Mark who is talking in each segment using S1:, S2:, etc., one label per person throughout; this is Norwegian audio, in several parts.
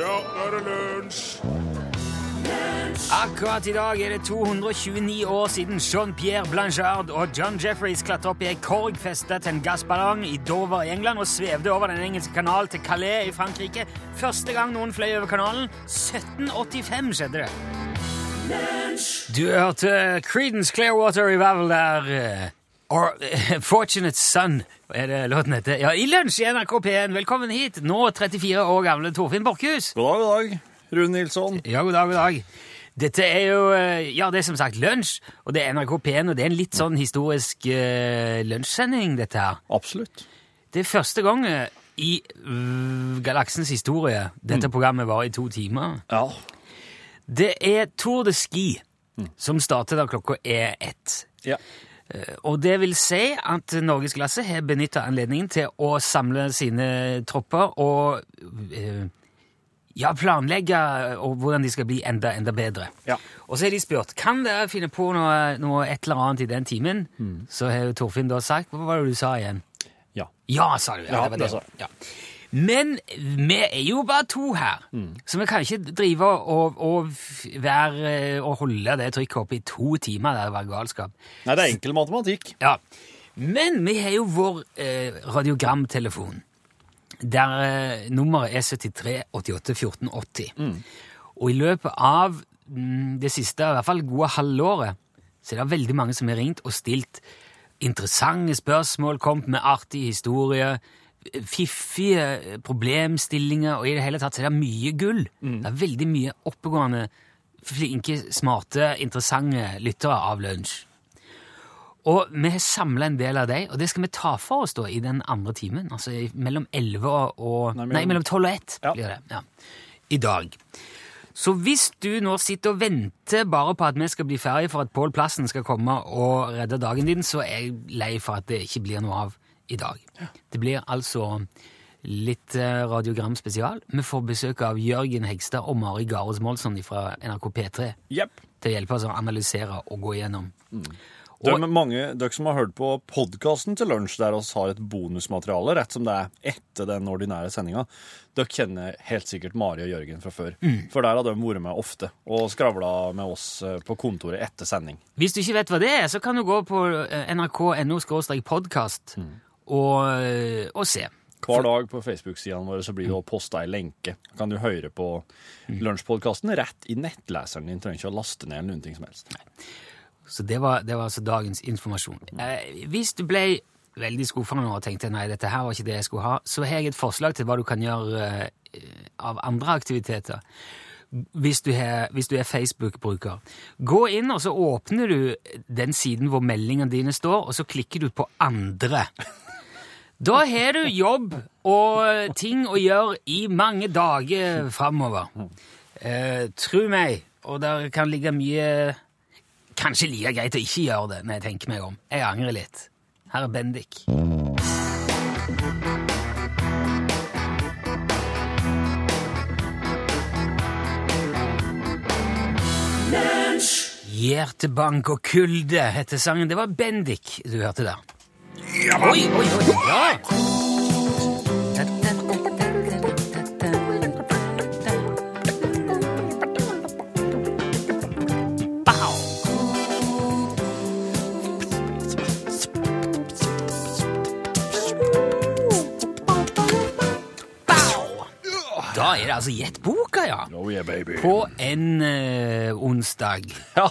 S1: Ja, nå er det lunsj!
S2: Akkurat i dag er det 229 år siden Jean-Pierre Blanchard og John Jeffreys klatret opp i ei korg festa til en gassballong i Dover i England og svevde over Den engelske kanal til Calais i Frankrike. Første gang noen fløy over kanalen, 1785 skjedde det. Du hørte Creedence Clearwater Revival der. eh, Or, eh, Fortunate Son er det låten heter. Ja, I lunsj i NRK P1, velkommen hit, nå 34 år gamle Torfinn Borchhus.
S3: God dag, god dag, Rune Nilsson.
S2: Ja, god dag, god dag. Dette er jo eh, ja, det er som sagt lunsj, og det er NRK P1, og det er en litt sånn historisk uh, lunsjsending, dette her.
S3: Absolutt.
S2: Det er første gang eh, i mm, galaksens historie dette programmet var i to timer.
S3: Ja.
S2: Det er Tour de Ski som starter da klokka er ett.
S3: ja.
S2: Og det vil si at Norgesklasse har benytta anledningen til å samle sine tropper og eh, ja, planlegge eh, og hvordan de skal bli enda, enda bedre.
S3: Ja.
S2: Og så har de spurt kan dere finne på noe, noe et eller annet i den timen. Så har jo Torfinn da sagt Hva var det du sa igjen?
S3: Ja.
S2: Ja, sa du. Ja,
S3: Ja, altså.
S2: det var
S3: det
S2: det.
S3: sa
S2: Ja. Men vi er jo bare to her, så vi kan ikke drive og, og, f- være, eh, og holde det trykket oppe i to timer. Det var galskap.
S3: Nei, det er enkel matematikk.
S2: Ja. Men vi har jo vår eh, radiogramtelefon, der eh, nummeret er 73 88 14 80. Og i løpet av mm, det siste, i hvert fall gode halvåret, så er det veldig mange som har ringt og stilt interessante spørsmål, kommet med artige historier, fiffige eh, problemstillinger, og i det hele tatt så er det mye gull. Det er veldig mye oppegående, flinke, smarte, interessante lyttere av lunsj. Og vi har samla en del av dem, og det skal vi ta for oss da i den andre timen. Altså i- mellom 11 og og-
S3: Nei,
S2: Nei,
S3: mellom-
S2: mellom 12 og 1
S3: Ja.
S2: blir det. Ja. I dag. Så hvis du nå sitter og venter bare på at vi skal bli ferdige for at Pål Plassen skal komme og redde dagen din, så er jeg lei for at det ikke blir noe av i dag. Det blir altså litt eh, radiogram spesial. Vi får besøk av Jørgen Hegstad og Mari Garos Molsson fra NRK P3
S3: Jepp.
S2: til å hjelpe oss å analysere og gå igjennom.
S3: Dere, mange, dere som har hørt på podkasten til lunsj, der oss har et bonusmateriale rett som det er etter den ordinære sendinga, dere kjenner helt sikkert Mari og Jørgen fra før.
S2: Mm.
S3: For der har de vært med ofte og skravla med oss eh, på kontoret etter sending.
S2: Hvis du ikke vet hva det er, så kan du gå på eh, nrk.no-podkast og, eh, og se.
S3: Hver dag på Facebook-sidene våre så blir det posta ei lenke. Kan du høre på lunsjpodkasten rett i nettleseren din. Trenger ikke å laste ned eller noen ting som helst.
S2: Så det var, det var altså dagens informasjon. Eh, hvis du ble veldig skuffa nå og tenkte nei, dette her var ikke det jeg skulle ha, så har jeg et forslag til hva du kan gjøre eh, av andre aktiviteter. Hvis du, har, hvis du er Facebook-bruker. Gå inn, og så åpner du den siden hvor meldingene dine står, og så klikker du på 'andre'. Da har du jobb og ting å gjøre i mange dager framover. Eh, tru meg, og der kan ligge mye Kanskje like greit å ikke gjøre det når jeg tenker meg om. Jeg angrer litt. Her er Bendik. Hjertebank og kulde heter sangen. Det var Bendik du hørte der. Oi, oi, oi! Ja. Pow! Pow! Da er det altså Gjett boka, ja.
S3: Oh yeah, baby.
S2: På en eh, onsdag.
S3: Ja,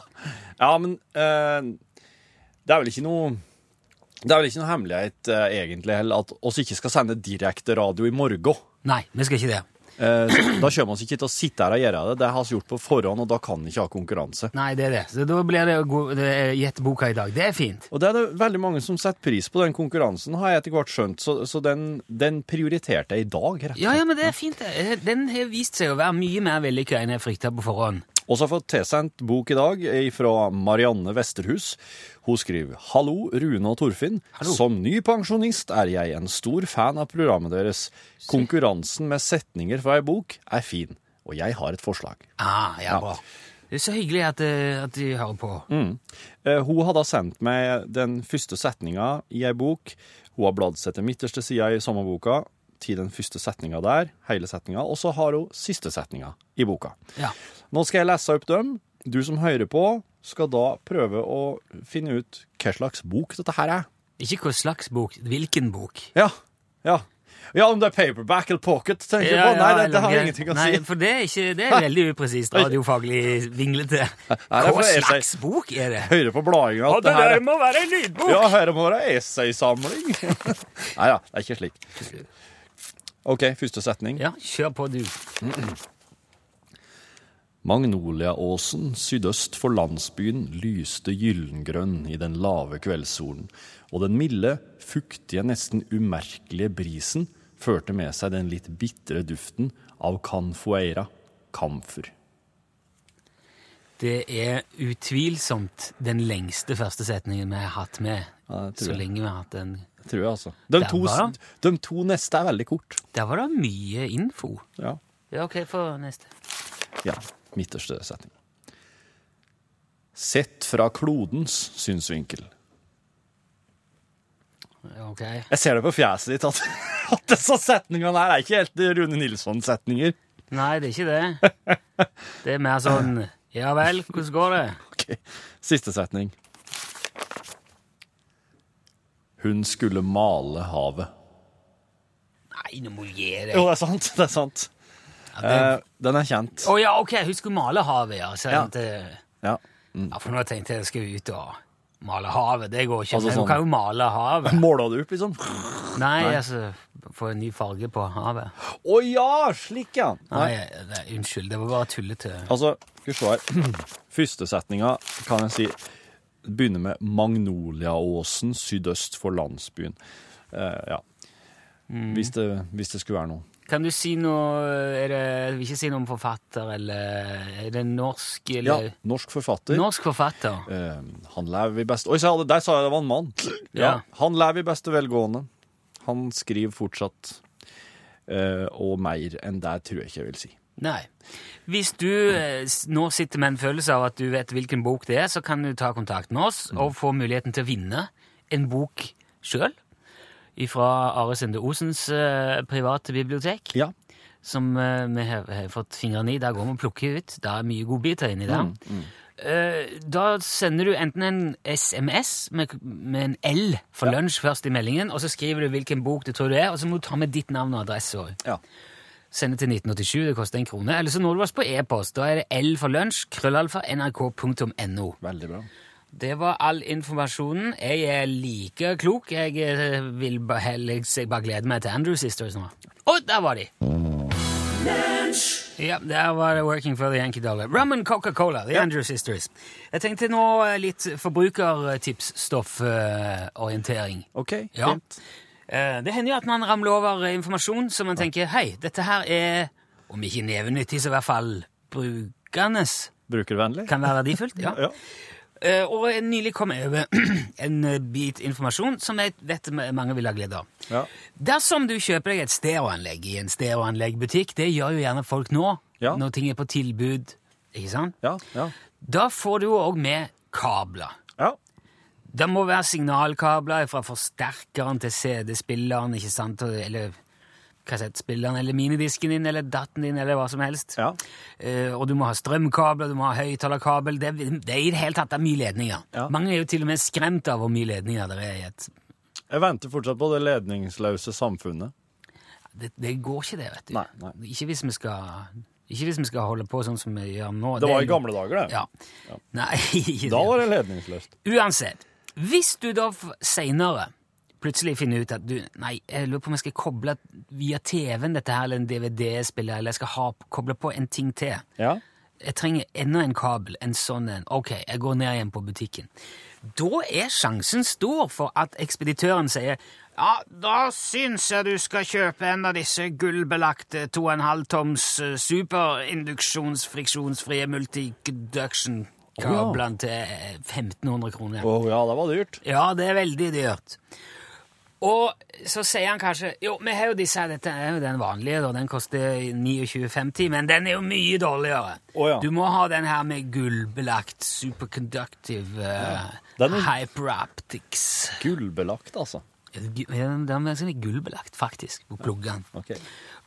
S3: ja men eh, det er vel ikke noe det er vel ikke noe hemmelighet eh, egentlig heller at oss ikke skal sende direkte radio i morgen.
S2: Nei, vi skal ikke det.
S3: Eh, så da kommer vi ikke til å sitte her og gjøre det. Det har vi gjort på forhånd, og da kan vi ikke ha konkurranse.
S2: Nei, det er det. Så da blir det å gå- det er Gjett boka i dag. Det er fint.
S3: Og det er det veldig mange som setter pris på den konkurransen, har jeg etter hvert skjønt. Så, så den, den prioriterte jeg i dag, rett og
S2: Ja,
S3: slett.
S2: ja, men det er fint. det. Den har vist seg å være mye mer vellykka enn jeg frykta på forhånd.
S3: Og så har jeg fått tilsendt bok i dag eh, fra Marianne Westerhus. Hun skriver Hallo, Rune og Torfinn.
S2: Hallo.
S3: Som ny pensjonist er jeg en stor fan av programmet deres. Konkurransen med setninger fra ei bok er fin, og jeg har et forslag.
S2: Ah, ja, bra. Det er så hyggelig at, eh, at du hører på.
S3: Eh, Hun har da sendt meg den første setninga i ei bok. Hun har bladd seg til midterste sida i sommerboka. til den første setninga der, hele setninga, og så har hun siste setninga i boka.
S2: Ja.
S3: Nå skal jeg lese opp dem. Du som hører på, skal da prøve å finne ut hva slags bok dette her er.
S2: Ikke hva slags bok, hvilken bok.
S3: Ja, ja. Ja, om det er paperback eller pocket, tenker jeg på. Nei, det, det har
S2: eller-
S3: ingenting å
S2: nei,
S3: si.
S2: For det er, ikke, det er veldig upresist radiofaglig vinglete.
S3: er for
S2: Hva
S3: jeg
S2: slags bok er det?
S3: Hører på bladinga at det her
S2: der
S3: er
S2: må være en lydbok!
S3: Ja, her må det være essaysamling. Nei da, det er ikke slik. OK, første setning.
S2: Ja, kjør på, du.
S3: Magnoliaåsen sydøst for landsbyen lyste gyllengrønn i den lave kveldssolen, og den milde, fuktige, nesten umerkelige brisen førte med seg den litt bitre duften av canfueira, kamfer.
S2: Det er utvilsomt den lengste første setningen vi har hatt med.
S3: Ja, det tror
S2: så
S3: jeg.
S2: lenge vi har hatt den.
S3: Tror jeg, altså. De
S2: Der
S3: to,
S2: var
S3: de to neste er veldig kort.
S2: Der var det mye info.
S3: Ja.
S2: Ja, ok, få neste.
S3: ja. Midterste setning. Sett fra klodens synsvinkel.
S2: Ja, Ok.
S3: Jeg ser det på fjeset ditt at, at disse setningene her er ikke helt Rune Nilsson-setninger.
S2: Nei, det er ikke det. Det er mer sånn Ja vel, hvordan går det?
S3: Ok, Siste setning. Hun skulle male havet.
S2: Nei, nå må du gi deg.
S3: Jo, det er sant. det er sant.
S2: Ja,
S3: Eh,
S2: det-
S3: den er kjent.
S2: Å ja, ok, hun skulle male havet, ja. Så
S3: Ja. Mm.
S2: jeg tenkte-
S3: Ja.
S2: Ja, for nå tenkte jeg jeg skulle ut og male havet. Det går ikke.
S3: Altså
S2: men
S3: sånn-
S2: Hun kan jo male havet.
S3: Måla du opp, liksom?
S2: Nei, altså Få en ny farge på havet.
S3: Å ja, slik, ja.
S2: Nei, det, unnskyld. Det var bare tullete.
S3: Altså, skal vi se her. Første setninga kan jeg si begynner med Magnoliaåsen sydøst for landsbyen. Eh, ja. Hvis, det, hvis det skulle være noe.
S2: Kan du si noe er det, Jeg vil ikke si noe om forfatter, eller Er det norsk,
S3: Ja,
S2: eller
S3: norsk forfatter.
S2: Norsk forfatter.
S3: Eh, han lever i beste Oi, sa jeg det- der sa jeg det var en mann. Ja.
S2: Ja.
S3: Han lever i beste velgående. Han skriver fortsatt. eh, og mer enn det tror jeg ikke jeg vil si.
S2: Nei. Hvis du eh, s- nå sitter med en følelse av at du vet hvilken bok det er, så kan du ta kontakt med oss og få muligheten til å vinne en bok sjøl. Fra Are Sende Osens eh, private bibliotek,
S3: Ja.
S2: som eh, vi har, har fått fingrene i. Der går vi og plukker ut. Det er mye godbiter inni der. Eh, da sender du enten en SMS med, med en L for lunsj først i meldingen, og så skriver du hvilken bok du tror det er, og så må du ta med ditt navn og adresse. også.
S3: ja.
S2: Sende til 1987, det koster en krone. Eller så når du oss på e-post. Da er det L for lunsj, krøllalfa, nrk.no.
S3: Veldig bra.
S2: Det var all informasjonen. Jeg er like klok. Jeg eh, vil ba- heller jeg bare glede meg til Andrew Sisters nå. Å, der var de! Ja, der var det Working for the Yankee Dollar. Rum and Coca-Cola, The Andrew Sisters. Jeg tenkte nå eh, litt forbrukertipsstofforientering.
S3: OK,
S2: Ja.
S3: fint.
S2: Eh, Det hender jo at man ramler over eh, informasjon som man tenker hei, dette her er, om ikke nevenyttig, så i hvert fall brukernes
S3: Brukervennlig.
S2: kan være verdifullt. ja.
S3: Ja.
S2: Eh, Og jeg nylig kom jeg over en eh, bit informasjon som jeg vet ma- mange vil ha glede av.
S3: Ja.
S2: Dersom du kjøper deg et stereoanlegg i en stereoanleggbutikk, det gjør jo gjerne folk nå,
S3: Ja.
S2: når ting er på tilbud, ikke sant?
S3: Ja. ja.
S2: Da får du jo òg med kabler.
S3: ja.
S2: Det må være signalkabler fra forsterkeren til CD-spilleren, ikke sant? Og- Eller kassettspilleren, eller minidisken din, eller datten din, eller hva som helst.
S3: Ja.
S2: Eh, og du må ha strømkabler, du må ha høyttalerkabel. Det, det er i det hele tatt det er mye ledninger.
S3: Ja.
S2: Mange er jo til og med skremt av hvor mye ledninger det er i et
S3: Jeg venter fortsatt på det ledningsløse samfunnet.
S2: det, det går ikke, det, vet du.
S3: Nei, nei.
S2: Ikke, hvis vi skal, ikke hvis vi skal holde på sånn som vi gjør nå.
S3: Det var i
S2: er-
S3: gamle dager, det.
S2: Ja. Nei, ikke
S3: Da
S2: det.
S3: var det ledningsløst.
S2: Uansett, hvis du da f- senere plutselig finner ut at du Nei, jeg lurer på om jeg skal koble via TV-en dette her, eller en DVD-spiller, eller jeg skal ha, koble på en ting til.
S3: Ja.
S2: Jeg trenger enda en kabel, en sånn en. Ok, jeg går ned igjen på butikken. Da er sjansen stor for at ekspeditøren sier ja, da syns jeg du skal kjøpe en av disse gullbelagte 2,5 toms eh, superinduksjonsfriksjonsfrie multiduction-kablene til eh, 1500 kroner.
S3: Å ja, det var dyrt.
S2: Ja, det er veldig dyrt. Og så sier han kanskje Jo, vi har jo disse her, dette er jo den vanlige, da. Den koster 29,50, men den er jo mye dårligere.
S3: Å ja.
S2: Du må ha den her med gullbelagt superconductive eh,
S3: Den er-
S2: hyperaptics.
S3: Gullbelagt, altså.
S2: Gu- ja, Den er sånn gullbelagt, faktisk, på pluggene.
S3: Ok.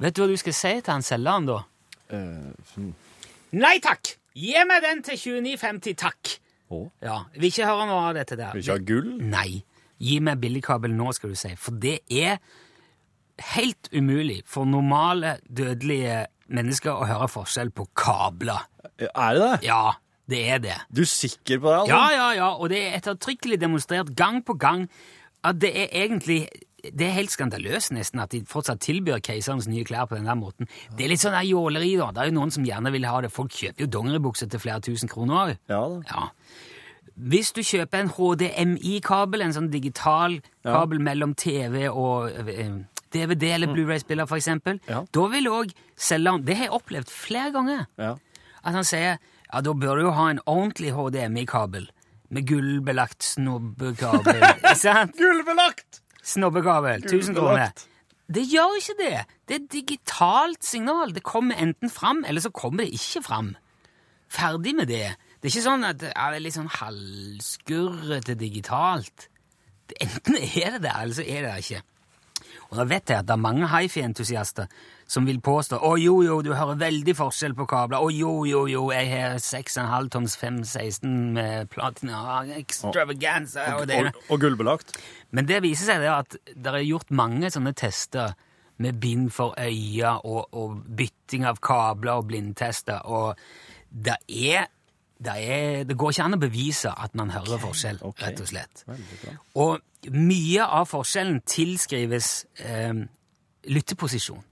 S2: Vet du hva du skal si til han selgeren, da?
S3: Eh, hmm.
S2: Nei takk! Gi meg den til 29,50, takk!
S3: Å?
S2: Ja, Vil ikke høre noe av dette der.
S3: Vil ikke ha gull?
S2: Nei. Gi meg billigkabel nå, skal du si. For det er helt umulig for normale, dødelige mennesker å høre forskjell på kabler.
S3: Er det det?
S2: Ja, det er det.
S3: Du er sikker på det? altså?
S2: Ja, ja, ja, og det er ettertrykkelig demonstrert gang på gang at det er egentlig det er helt skandaløst nesten at de fortsatt tilbyr keiserens nye klær på den der måten. Det er litt sånn der jåleri, da. Det er jo noen som gjerne vil ha det. Folk kjøper jo dongeribukser til flere tusen kroner òg.
S3: Ja da.
S2: Ja. Hvis du kjøper en HDMI-kabel, en sånn digital kabel mellom TV og eh, DVD eller Blu-ray-spiller, for eksempel,
S3: Ja.
S2: da vil òg selgeren Det har jeg opplevd flere ganger.
S3: Ja.
S2: At han sier ja, da bør du jo ha en ordentlig HDMI-kabel med gullbelagt snobbekabel. Ikke sant?
S3: Gullbelagt!
S2: Snobbekabel. 1000 kroner.
S3: Gullbelagt.
S2: Det gjør ikke det. Det er et digitalt signal. Det kommer enten fram, eller så kommer det ikke fram. Ferdig med det. Det er ikke sånn at det er litt sånn halvskurrete digitalt. Det- Enten er det det, eller så er det det ikke. Og da vet jeg at det er mange hifi-entusiaster som vil påstå å jo, jo, du hører veldig forskjell på kabler. Å jo, jo, jo, jeg har 6,5 toms 516 med platina extravaganza og det ene.
S3: Og, og gullbelagt.
S2: Men det viser seg det at det er gjort mange sånne tester med bind for øya og, og bytting av kabler og blindtester, og det er, det er Det går ikke an å bevise at man hører forskjell,
S3: ok.
S2: rett og slett.
S3: Veldig bra.
S2: Og mye av forskjellen tilskrives eh, lytteposisjon.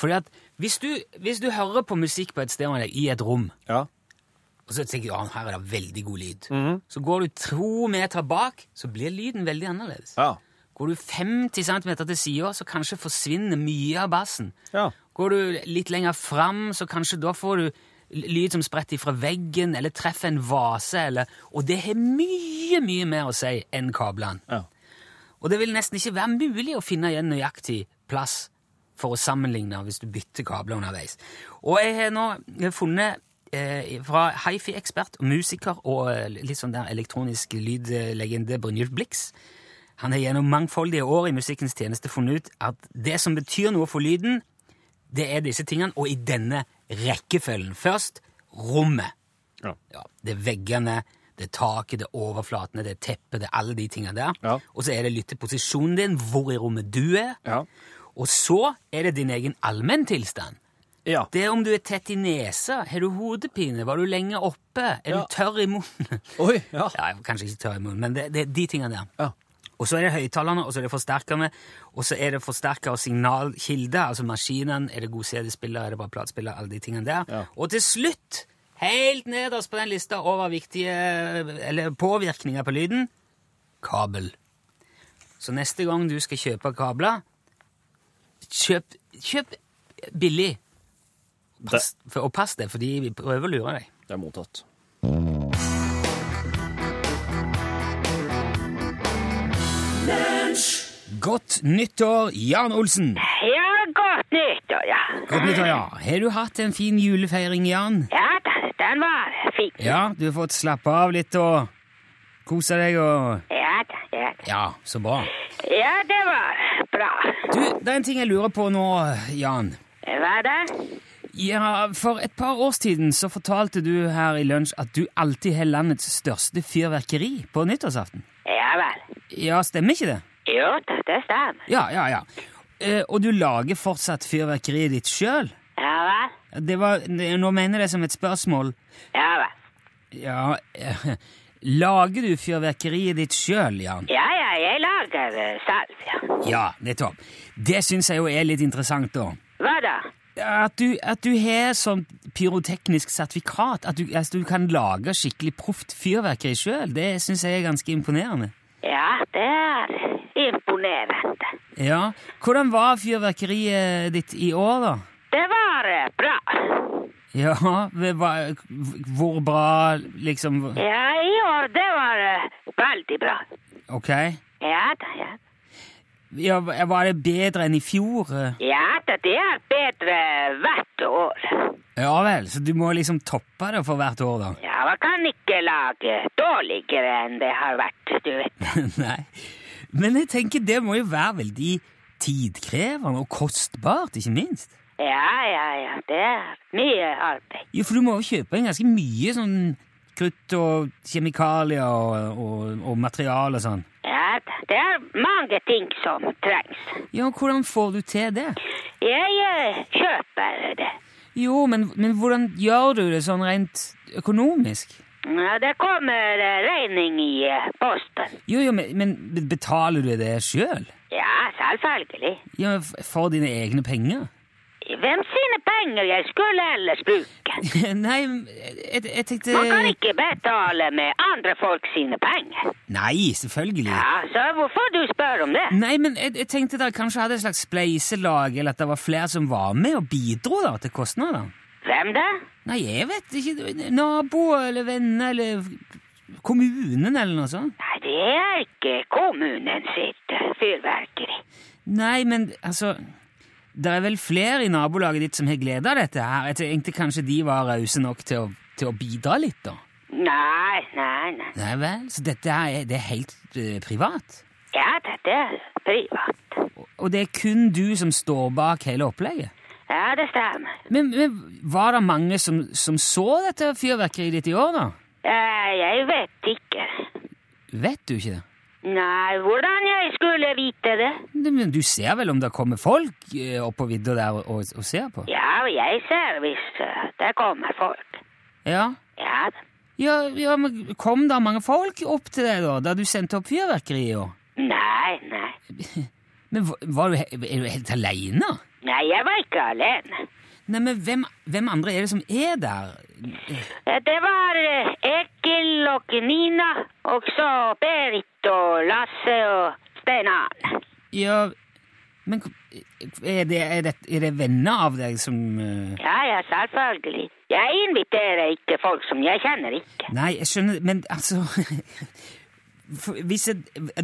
S2: Fordi at hvis du, hvis du hører på musikk på et sted i et rom,
S3: Ja.
S2: og så tenker du at her er det veldig god lyd,
S3: Mhm.
S2: så går du to meter bak, så blir lyden veldig annerledes.
S3: Ja.
S2: Går du 50 cm til sida, så kanskje forsvinner mye av bassen.
S3: ja.
S2: Går du litt lenger fram, så kanskje da får du lyd som spretter fra veggen, eller treffer en vase, eller Og det har mye, mye mer å si enn kablene.
S3: ja.
S2: Og det vil nesten ikke være mulig å finne igjen nøyaktig plass for å sammenligne hvis du bytter kabler underveis. Og jeg har nå funnet eh, fra hifi-ekspert og musiker og eh, litt sånn der elektronisk lydlegende Brynjulf Blix Han har gjennom mangfoldige år i musikkens tjeneste funnet ut at det som betyr noe for lyden, det er disse tingene, og i denne rekkefølgen. Først rommet.
S3: Ja.
S2: Ja, det er veggene, det er taket, det er overflatene, det er teppet, det er alle de tingene der.
S3: Ja.
S2: Og så er det lytteposisjonen din, hvor i rommet du er.
S3: Ja.
S2: Og så er det din egen allmenntilstand.
S3: ja.
S2: Det er om du er tett i nesa, har du hodepine, var du lenge oppe, er
S3: Ja.
S2: du tørr i munnen?
S3: Oi, ja.
S2: Ja, jeg var kanskje ikke tørr i munnen, men det, det er de tingene der.
S3: Ja.
S2: Og så er det høyttalerne, og så er det forsterkerne, og så er det forsterker og signalkilde, altså maskinen, er det god CD-spiller, er det bare platespiller, alle de tingene der.
S3: Ja.
S2: Og til slutt, helt nederst på den lista over viktige eller påvirkninger på lyden, kabel. Så neste gang du skal kjøpe kabler, kjøp, kjøp billig. Pass, for, og pass deg, for de prøver å lure deg.
S3: Det er mottatt.
S2: Godt nyttår, Jan Olsen!
S4: Ja, godt nyttår, ja.
S2: Godt nyttår, ja. Har du hatt en fin julefeiring, Jan?
S4: Ja, da, den var fin.
S2: Ja, du har fått slappe av litt og kose deg og
S4: Ja, da, ja, da.
S2: Ja, så bra.
S4: ja, det var bra.
S2: Du, det er en ting jeg lurer på nå, Jan.
S4: Hva da?
S2: Ja, For et par år siden så fortalte du her i lunsj at du alltid har landets største fyrverkeri på nyttårsaften.
S4: Ja vel.
S2: Ja, stemmer ikke det?
S4: Jo, da, det stemmer.
S2: Ja, ja, ja. Eh, og du lager fortsatt fyrverkeriet ditt sjøl?
S4: Ja vel.
S2: Det var Nå mener jeg det som et spørsmål.
S4: Ja vel.
S2: Ja eh, Lager du fyrverkeriet ditt sjøl, Jan?
S4: Ja, ja, jeg lager eh, salv, ja.
S2: Ja, nettopp. Det syns jeg jo er litt interessant, da.
S4: Hva da?
S2: At du, at du har sånn pyroteknisk sertifikat, at du, at du kan lage skikkelig proft fyrverkeri sjøl, det syns jeg er ganske imponerende.
S4: Ja, det er imponerende.
S2: Ja, Hvordan var fyrverkeriet ditt i år, da?
S4: Det var eh, bra.
S2: Ja, det var- Hvor bra, liksom
S4: Ja, i år, det var eh, veldig bra.
S2: Ok.
S4: Ja da, ja. da.
S2: Ja, var det bedre enn i fjor?
S4: Ja da, det er bedre hvert år.
S2: Ja vel, så du må liksom toppe det for hvert år, da?
S4: Ja, man kan ikke lage dårligere enn det har vært, du vet.
S2: Nei. Men jeg tenker det må jo være veldig tidkrevende og kostbart, ikke minst.
S4: Ja, ja, ja. Det er mye arbeid.
S2: Jo, for du må jo kjøpe inn ganske mye sånn krutt og kjemikalier og, og, og materiale og sånn.
S4: Ja, da, det er mange ting som trengs.
S2: Ja, hvordan får du til det?
S4: Jeg eh, kjøper det.
S2: Jo, men, men hvordan gjør du det sånn rent økonomisk?
S4: Ja, det kommer eh, regning i eh, posten.
S2: Jo, jo, men, men betaler du det sjøl?
S4: Ja, selvfølgelig.
S2: Ja, f- for dine egne penger?
S4: Hvem sine penger jeg skulle ellers bruke?
S2: Nei, jeg, jeg tenkte
S4: Man kan ikke betale med andre folk sine penger.
S2: Nei, selvfølgelig.
S4: Ja, så hvorfor du spør om det?
S2: Nei, men jeg, jeg tenkte dere kanskje hadde et slags spleiselag, eller at det var flere som var med og bidro da, til kostnader.
S4: Hvem da?
S2: Nei, jeg vet ikke. Naboer eller venner eller kommunen eller noe sånt.
S4: Nei, det er ikke kommunen sitt eh, fyrverkeri.
S2: Nei, men altså Det er vel flere i nabolaget ditt som har glede av dette her. Jeg tenkte kanskje de var rause nok til å, til å bidra litt, da.
S4: Nei, nei, nei.
S2: Nei vel, så dette her er, det er helt eh, privat?
S4: Ja, da, det er privat.
S2: Og det er kun du som står bak hele opplegget?
S4: Ja, det stemmer.
S2: Men, men var det mange som, som så dette fyrverkeriet ditt i år, da?
S4: Eh, Jeg vet ikke.
S2: Vet du ikke det?
S4: Nei, hvordan jeg skulle vite det?
S2: Men men du ser vel om det kommer folk eh, opp på vidda der og, og, og ser på?
S4: Ja, jeg ser hvis eh, det kommer folk.
S2: Ja.
S4: Ja, da.
S2: Ja, ja, men kom det mange folk opp til deg da, da du sendte opp fyrverkeriet i år?
S4: nei, nei.
S2: Men hva- var du, he- er du helt aleine?
S4: Nei, jeg var ikke alene.
S2: Nei, men hvem, hvem andre er det som er der?
S4: Eh, Det var eh, Ekil og Nina, og så Berit og Lasse og Stein Arne.
S2: Ja, men k- er det, er det, er det venner av deg som eh,
S4: Ja, ja, selvfølgelig. Jeg inviterer ikke folk som jeg kjenner ikke.
S2: Nei, jeg skjønner Men altså for, hvis jeg,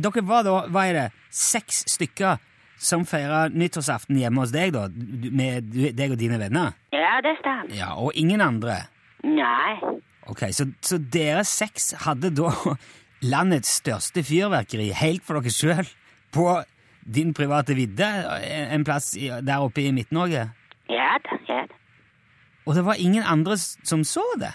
S2: Dere var da, hva er det, seks stykker som feira nyttårsaften hjemme hos deg, da? du- Med du- deg og dine venner?
S4: Ja, det stemmer.
S2: Ja, Og ingen andre?
S4: Nei.
S2: Ok, Så, så dere seks hadde da landets største fyrverkeri helt for dere sjøl på din private vidde, en en plass i- der oppe i Midt-Norge?
S4: Ja da, ja da.
S2: Og det var ingen andre s- som så det?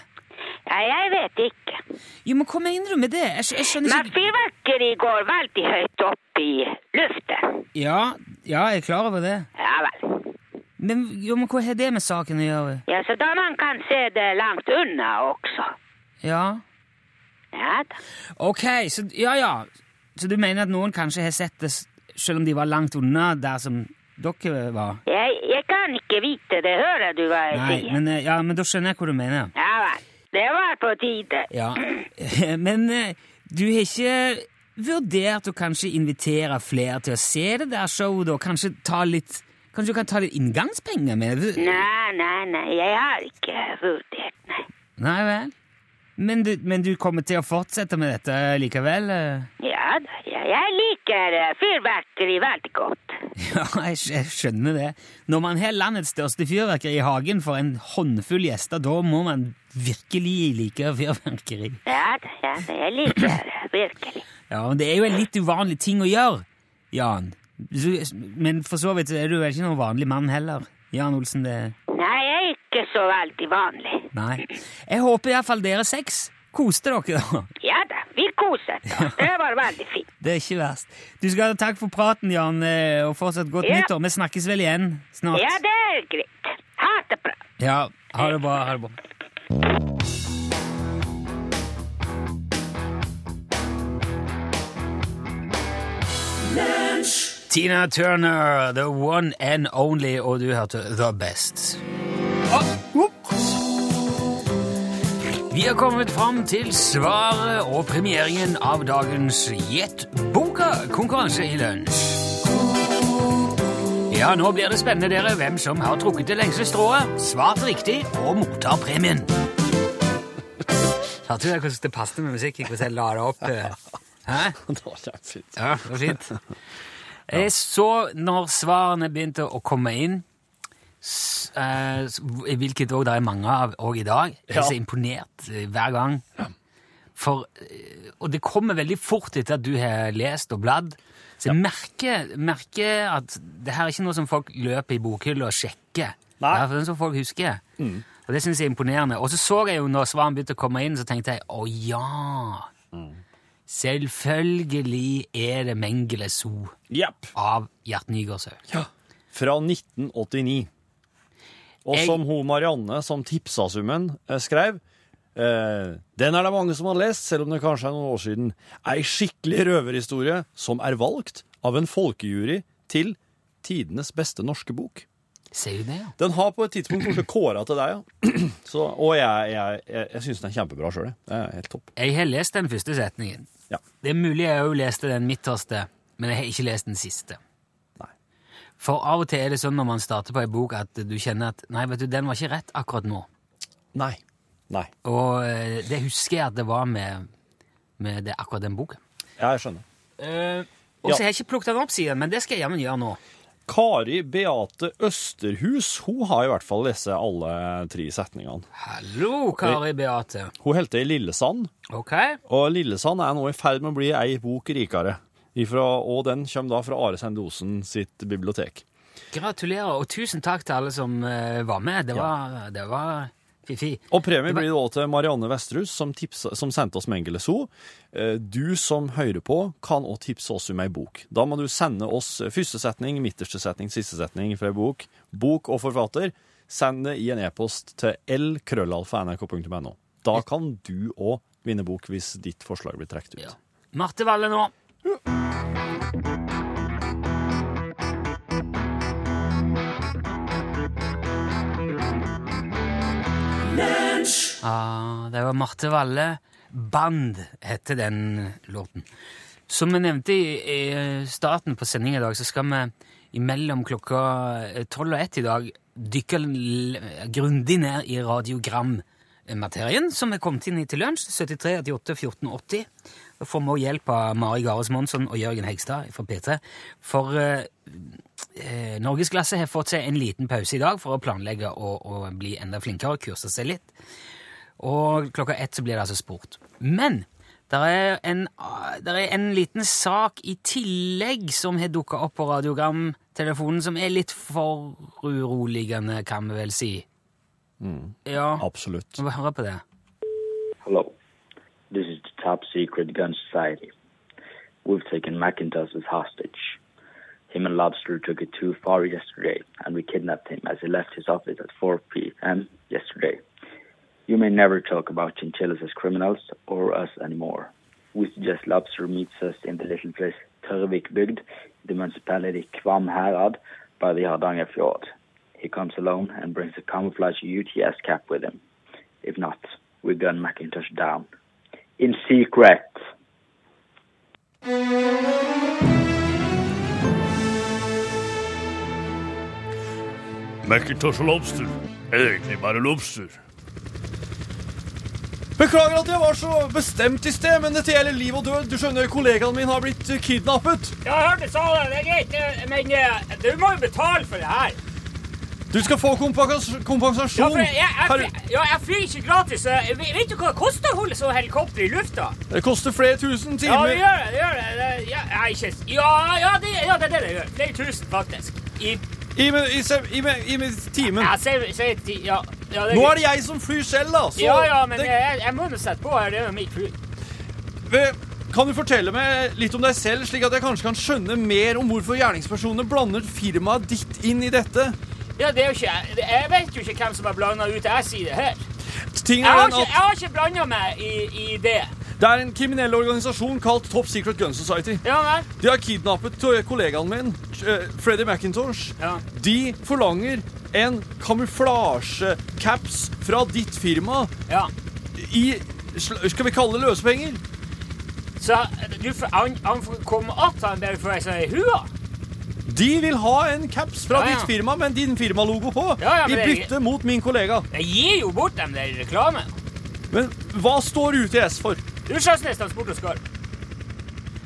S4: Ja, jeg vet ikke.
S2: Jo, men Hva mener du med det? Jeg, skj- jeg skjønner
S4: Men
S2: ikke
S4: fyrverkeri går veldig høyt opp i luften.
S2: Ja, ja, jeg er klar over det.
S4: Ja vel.
S2: Men, jo, men hva har det med saken å gjøre?
S4: Ja, så da man kan se det langt unna også.
S2: Ja.
S4: Ja da.
S2: Ok, så, ja, ja. så du mener at noen kanskje har sett det s- selv om de var langt unna der som dere var?
S4: Jeg, jeg kan ikke vite det, hører du hva jeg
S2: Nei,
S4: sier?
S2: men, eh, ja, men da skjønner jeg hva du mener.
S4: Ja vel. Det var på tide.
S2: Ja. Men eh, du har ikke vurdert å kanskje invitere flere til å se det der showet, da? Kanskje, ta litt, kanskje du kan ta litt inngangspenger med det?
S4: Nei, nei, nei, jeg har ikke vurdert, nei.
S2: Nei vel? Men du, men du kommer til å fortsette med dette likevel? eh?
S4: Ja da, ja, jeg liker eh, fyrverkeri veldig godt.
S2: Ja, jeg, skj- jeg skjønner det. Når man har landets største fyrverkeri i hagen for en håndfull gjester, da må man virkelig like fyrverkeri.
S4: Ja da, ja da, jeg liker det virkelig.
S2: Ja, men Det er jo en litt uvanlig ting å gjøre, Jan. Så- Men for så vidt så er du vel ikke noen vanlig mann heller. Jan Olsen, det
S4: Nei, jeg er ikke så veldig vanlig.
S2: Nei. Jeg håper iallfall dere seks koste dere, da.
S4: Ja da, vi koset oss. Det var veldig fint.
S2: Det er ikke verst. Du skal ha takk for praten, Jan, eh, og fortsatt godt
S4: Ja.
S2: nyttår. Vi snakkes vel igjen snart.
S4: Ja, det er greit. Ha det bra.
S2: Ja, ha det bra. Ha det bra. Tina Turner, the one and only, og du hørte The Best. Å, ups. Vi har kommet fram til svaret og premieringen av dagens Gjett boka-konkurranse i lunsj. Ja, nå blir det spennende, dere, hvem som har trukket det lengste strået, svart riktig og mottar premien. Hørte du det, hvordan det passet med musikk? Hvordan jeg la det opp? eh? Hæ?
S3: Det var kjempefint.
S2: Ja, det var fint. Eh, Så, når svarene begynte å komme inn, s- eh, s- hvilket òg det er mange av òg i dag, jeg er
S3: Ja.
S2: så imponert eh, hver gang. For, eh, og det kommer veldig fort etter at du har lest og bladd. Så jeg merker, merker at det her er ikke noe som folk løper i bokhylla og sjekker.
S3: Nei.
S2: Det er noe som folk husker. Og det syns jeg er imponerende. Og så så jeg jo når svaren begynte å komme inn, så tenkte jeg å ja. Selvfølgelig er det Mengele Zoo
S3: Jepp.
S2: av Gjert Nygaardshaug.
S3: Fra 1989. Og
S2: Jeg-
S3: som hun Marianne, som tipsa summen, eh, skrev eh, Den er det mange som har lest, selv om det kanskje er noen år siden. Ei skikkelig røverhistorie som er valgt av en folkejury til tidenes beste norske bok.
S2: Ser du det, ja?
S3: Den har på et tidspunkt kanskje kåra til deg, ja. Så, og jeg, jeg, jeg, jeg syns den er kjempebra sjøl, jeg. Det er helt topp.
S2: Jeg har lest den første setningen.
S3: Ja.
S2: Det er mulig jeg òg leste den midterste, men jeg har ikke lest den siste.
S3: Nei.
S2: For av og til er det sånn når man starter på ei bok, at du kjenner at Nei, vet du, den var ikke rett akkurat nå.
S3: Nei. Nei.
S2: Og eh, det husker jeg at det var med, med det, akkurat den boka.
S3: Ja, jeg skjønner.
S2: og
S3: Eh, Ja.
S2: så har jeg ikke plukket den opp siden, men det skal jeg jammen gjøre nå.
S3: Kari Beate Østerhus hun har i hvert fall lest alle tre setningene.
S2: Hallo, Kari Beate.
S3: Hun holdt til i Lillesand,
S2: Ok?
S3: og Lillesand er nå i ferd med å bli ei bok rikere. Ifra, og den kommer da fra Are Sendosen sitt bibliotek.
S2: Gratulerer, og tusen takk til alle som eh, var med. Det var, det var fifi.
S3: Og premie blir det også til Marianne Vesterhus, som, tipsa, som sendte oss Mengele Zoo. Eh, Du som hører på, kan også tipse oss om ei bok. Da må du sende oss første setning, midterste setning, siste setning fra ei bok, bok og forfatter. Send det i en e-post til lkrøllalfa.nrk.no. Da kan du òg vinne bok hvis ditt forslag blir trukket ut.
S2: Ja. Marte Valle nå. Ah, det var Marte Valle. Band heter den låten. Som vi nevnte i, i starten på sendingen i dag, så skal vi imellom klokka eh, tolv og ett i dag dykke l- grundig ned i radiogrammaterien som er kommet inn i til lunsj. 73 88 14 80. Da får vi også hjelp av Mari Gares Monsson og Jørgen Hegstad fra P3. For eh, eh, Norgesklasse har fått seg en liten pause i dag for å planlegge og, og bli enda flinkere, kurse seg litt. Og klokka ett så blir det altså sport. Men der er, en, ah, der er en liten sak i tillegg som har dukka opp på radiogramtelefonen, som er litt for uroligende, kan vi vel si. Ja,
S3: Absolutt.
S2: vi må høre på det.
S5: Hello. This is the Top Secret Gun Society. We've taken McIntosh as hostage. Him and Lobster took it too far yesterday, and we kidnapped him as he left his office at 4 p.m. yesterday. You may never talk about chinchillas as criminals or us anymore. We suggest Lobster meets us in the little place Tørvikbygd, the municipality Kvam Herad, by the Hardanger Fjord. He comes alone and brings a camouflage UTS cap with him. If not, we gun Macintosh down. In secret.
S1: Macintosh og Lobster er egentlig bare lobster.
S3: Beklager at jeg var så bestemt i sted, men dette gjelder liv og død. Du skjønner, kollegaen min har blitt kidnappet.
S2: Ja, jeg hørte sa det. Det er greit, eh, men du må jo betale for det her.
S3: Du skal få kompensasjon.
S2: flyr ikke gratis. Vet du hva det koster å holde så helikopter i lufta?
S3: Det koster flere tusen
S2: Ja, det gjør det. det, gjør det. det ja, nei, ikke, s- ja, ja, det, ja, det er det det gjør. Flere tusen, faktisk. I,
S3: I, men- i, se- i, men- i men- timen.
S2: ja, se, se, ti, ja, ja,
S3: Nå er det jeg som flyr selv, da. Så
S2: Ja, ja, men
S3: det,
S2: jeg, jeg må nå sette på her. Det er jo mitt fly.
S3: Ve- Kan du fortelle meg litt om deg selv, slik at jeg kanskje kan skjønne mer om hvorfor gjerningspersonene blander firmaet ditt inn i dette?
S2: Ja, det er jo ikke, det- jeg vet jo ikke hvem som har blanda ut S i det her.
S3: Tingen
S2: Jeg
S3: er
S2: har
S3: den
S2: ikke,
S3: at
S2: jeg har ikke blanda meg i, i det.
S3: Det er en kriminell organisasjon kalt Top Secret Gun Society.
S2: Ja, vel?
S3: De har kidnappet to- kollegaen min, eh, Freddie McIntosh.
S2: Ja.
S3: De forlanger en kamuflasjecaps fra ditt firma
S2: Ja.
S3: i sl- Skal vi kalle det løsepenger?
S2: Så du, får- han, han får komme att han bare for ei sånn hue.
S3: De vil ha en caps fra
S2: Ja, ja.
S3: ditt firma med din firmalogo på,
S2: Ja, ja,
S3: i
S2: men det-
S3: bytte mot min kollega.
S2: Jeg gir jo bort dem der i reklame.
S3: Men hva står UTS for?
S2: Du Sjøsnes, transport og skarv.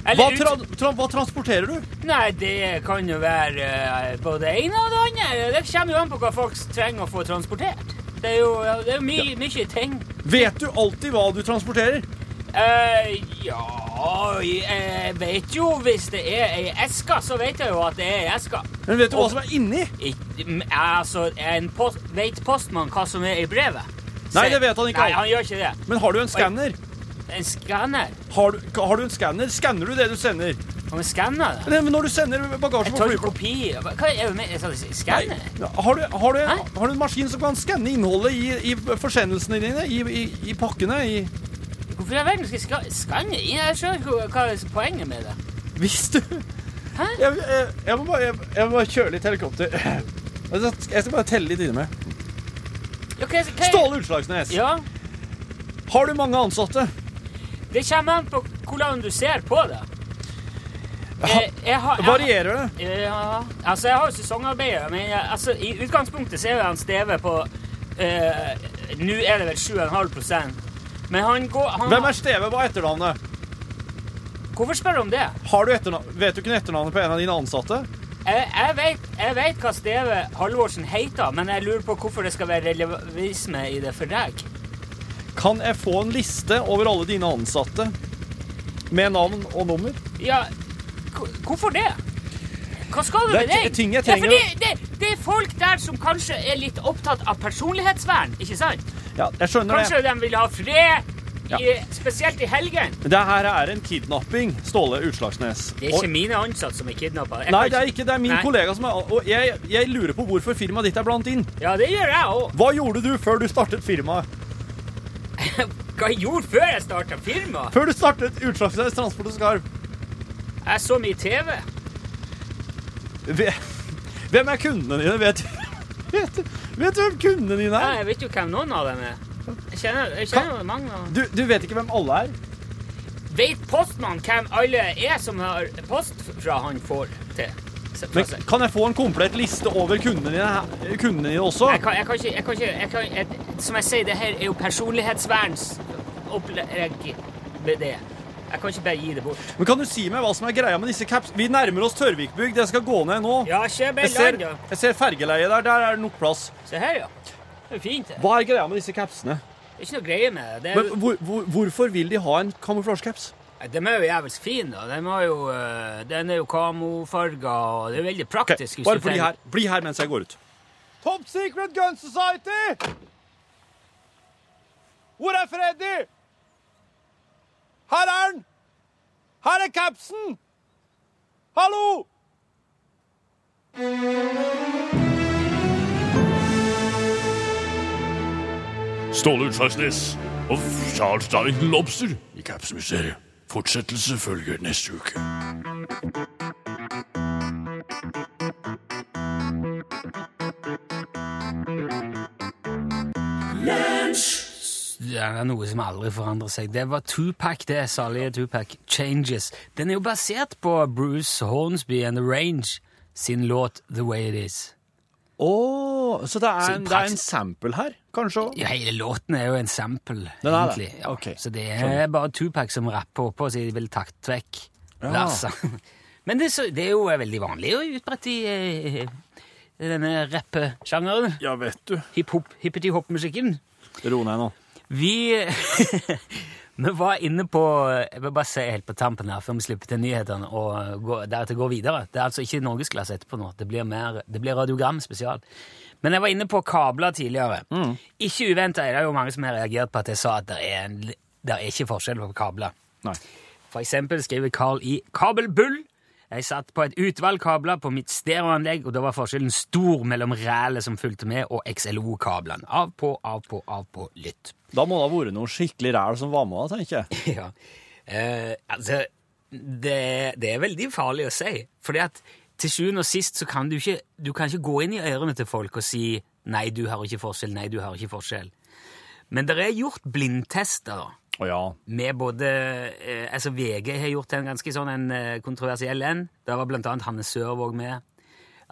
S3: Hva, tra tra hva transporterer du?
S2: Nei, det kan jo være eh, både det ene og det andre. Det kommer jo an på hva folk trenger å få transportert. Det er jo ja, det er my, mye ting.
S3: Vet du alltid hva du transporterer?
S2: Eh, Eh, ja Jeg vet jo hvis det er ei eske, så vet jeg jo at det er ei eske.
S3: Men vet du hva som er inni?
S2: Ikk- m, altså, en post, vet postmann hva som er i brevet?
S3: Nei,
S2: Se-
S3: det vet han ikke.
S2: Nei, han gjør ikke det.
S3: Men har du en skanner?
S2: En skanner.
S3: Har du, har du en skanner? Skanner du det du sender?
S2: Kan vi skanne det?
S3: Nei, men når du sender bagasje
S2: Jeg
S3: på
S2: tar ikke
S3: flyplassen
S2: kopi. Hva hva er det med jeg sa det-
S3: Nei.
S2: Skanner?
S3: Har du, har, du,
S2: Hæ?
S3: har du en maskin som kan skanne innholdet i, i forsendelsene dine? I, i, i pakkene? I
S2: Hvorfor i all verden skal jeg ska- skanne? Jeg skjønner ikke hva- hva er poenget med det.
S3: Hvis du
S2: Hæ?
S3: Jeg, jeg, jeg, må bare, jeg, jeg må bare kjøre litt helikopter. Jeg skal- jeg skal bare telle litt inni meg.
S2: Ja, hva- hva-
S3: Ståle Utslagsnes,
S2: Ja,
S3: har du mange ansatte?
S2: det kommer an på hvordan du ser på det. Jeg, jeg har, jeg,
S3: Varierer det?
S2: Ja, altså jeg har jo sesongarbeider, men jeg, altså, i utgangspunktet så er jo han Steve på eh, Nå er det vel 7,5 men han går han,
S3: Hvem er Steve på etternavnet?
S2: Hvorfor spør du om det?
S3: Har du etternavn, vet du ikke etternavnet på en av dine ansatte?
S2: Jeg, jeg, vet, jeg vet hva Steve Halvorsen heter, men jeg lurer på hvorfor det skal være relativisme i det for deg.
S3: Kan jeg få en liste over alle dine ansatte med navn og nummer?
S2: Ja, hvor- hvorfor det? Hva skal du
S3: Det er
S2: med deg?
S3: ti- ting jeg
S2: Ja,
S3: trenger
S2: fordi det, det er folk der som kanskje er litt opptatt av personlighetsvern, ikke sant?
S3: Ja, jeg skjønner
S2: Kanskje de vil ha fred,
S3: Ja.
S2: i, spesielt i helgen.
S3: det. Det her er en kidnapping, Ståle Utslagsnes.
S2: Det er
S3: Og-
S2: ikke mine ansatte som er kidnappa.
S3: Nei, det er ikke det. er min
S2: Nei.
S3: kollega som er Og jeg, jeg lurer på hvorfor firmaet ditt er blant inn.
S2: Ja, det gjør jeg òg.
S3: Hva gjorde du før du startet firmaet?
S2: Hva jeg gjorde før jeg starta firma?
S3: Før du startet Utslagsnes Transport og Skarv?
S2: Jeg så mye TV.
S3: Ve- Hvem er kundene dine? Vet, vet, du- vet du hvem kundene dine er?
S2: Jeg vet jo hvem noen av dem er. Jeg kjenner, jeg kjenner mange av dem.
S3: Du, du vet ikke hvem alle er?
S2: Vet postmannen hvem alle er som har post fra han får til? se- fra
S3: Men
S2: seg?
S3: kan jeg få en komplett liste over kundene dine, her- kundene dine også?
S2: Jeg kan, jeg kan ikke, jeg kan ikke jeg kan, jeg, Som jeg sier, det her er jo personlighetsverns opplegg med det. Jeg kan ikke bare gi det bort.
S3: Men kan du si meg hva som er greia med disse caps? Vi nærmer oss Tørvikbygd. Jeg skal gå ned nå.
S2: Ja, kjøp
S3: Jeg
S2: en
S3: ser,
S2: land, ja.
S3: jeg ser fergeleiet der. Der er det nok plass.
S2: Se her, ja. Det er fint, det.
S3: Hva er greia med disse capsene?
S2: Det er ikke noe greie med det. det. er
S3: Men
S2: jo-
S3: hvor, hvor, hvorfor vil de ha en kamuflasjecaps?
S2: Nei, De er jo jævlig fine, da. De har jo, eh, den er jo kamofarga, og det er veldig
S3: Ok,
S2: praktisk. hvis
S3: Bare
S2: du tenker-
S3: bli her. bli her mens jeg går ut. Top Secret Gun Society! Hvor er Freddy? Her er han! Her er capsen! Hallo!
S1: Ståle Utslagsnes og Charles Darlington Lobster i Capsmuseet. Fortsettelse følger neste uke.
S2: Det er noe som aldri forandrer seg. Det var Tupac, det. Salige Tupac. 'Changes'. Den er jo basert på Bruce Hornsby and The Range sin låt 'The Way It Is'.
S3: så det er,
S2: en- det er en
S3: sample her, kanskje?
S2: Ja, hele låten er jo en sample,
S3: Den er det?
S2: egentlig. Ja.
S3: Ok,
S2: Så det er bare Tupac som rapper oppå og sier de vil takte vekk versene. Men det, er så, det er jo eh, veldig vanlig og utbredt i eh, denne rappesjangeren.
S3: Ja, vet du.
S2: hiphop, hippeti-hopp-musikken.
S3: Ro ned nå.
S2: Vi, vi var inne på Jeg vil bare se helt på tampen her før vi slipper til nyhetene og går, deretter går videre. Det er altså ikke norgesklasse etterpå nå. Det blir, mer, det blir radiogram spesial. Men jeg var inne på kabler tidligere. Ikke uventa er det jo mange som har reagert på at jeg sa at det er, en, det er ikke forskjell på kabler.
S3: Nei.
S2: For eksempel skriver Carl i Kabelbull. Jeg satt på et utvalg kabler på mitt stereoanlegg, og da var forskjellen stor mellom rælet som fulgte med, og XLO-kablene. Av på, av på, av på, lytt.
S3: Da må det ha vært noe skikkelig ræl som var med, tenker jeg.
S2: ja. Eh, altså, det, det er veldig farlig å si. Fordi at til sjuende og sist så kan du ikke, du kan ikke gå inn i ørene til folk og si nei, du har ikke forskjell, nei, du har ikke forskjell. Men det er gjort blindtester da.
S3: Å ja.
S2: med både eh, altså VG har gjort en ganske sånn en eh, kontroversiell en. Der var blant annet Hanne Sørvåg med.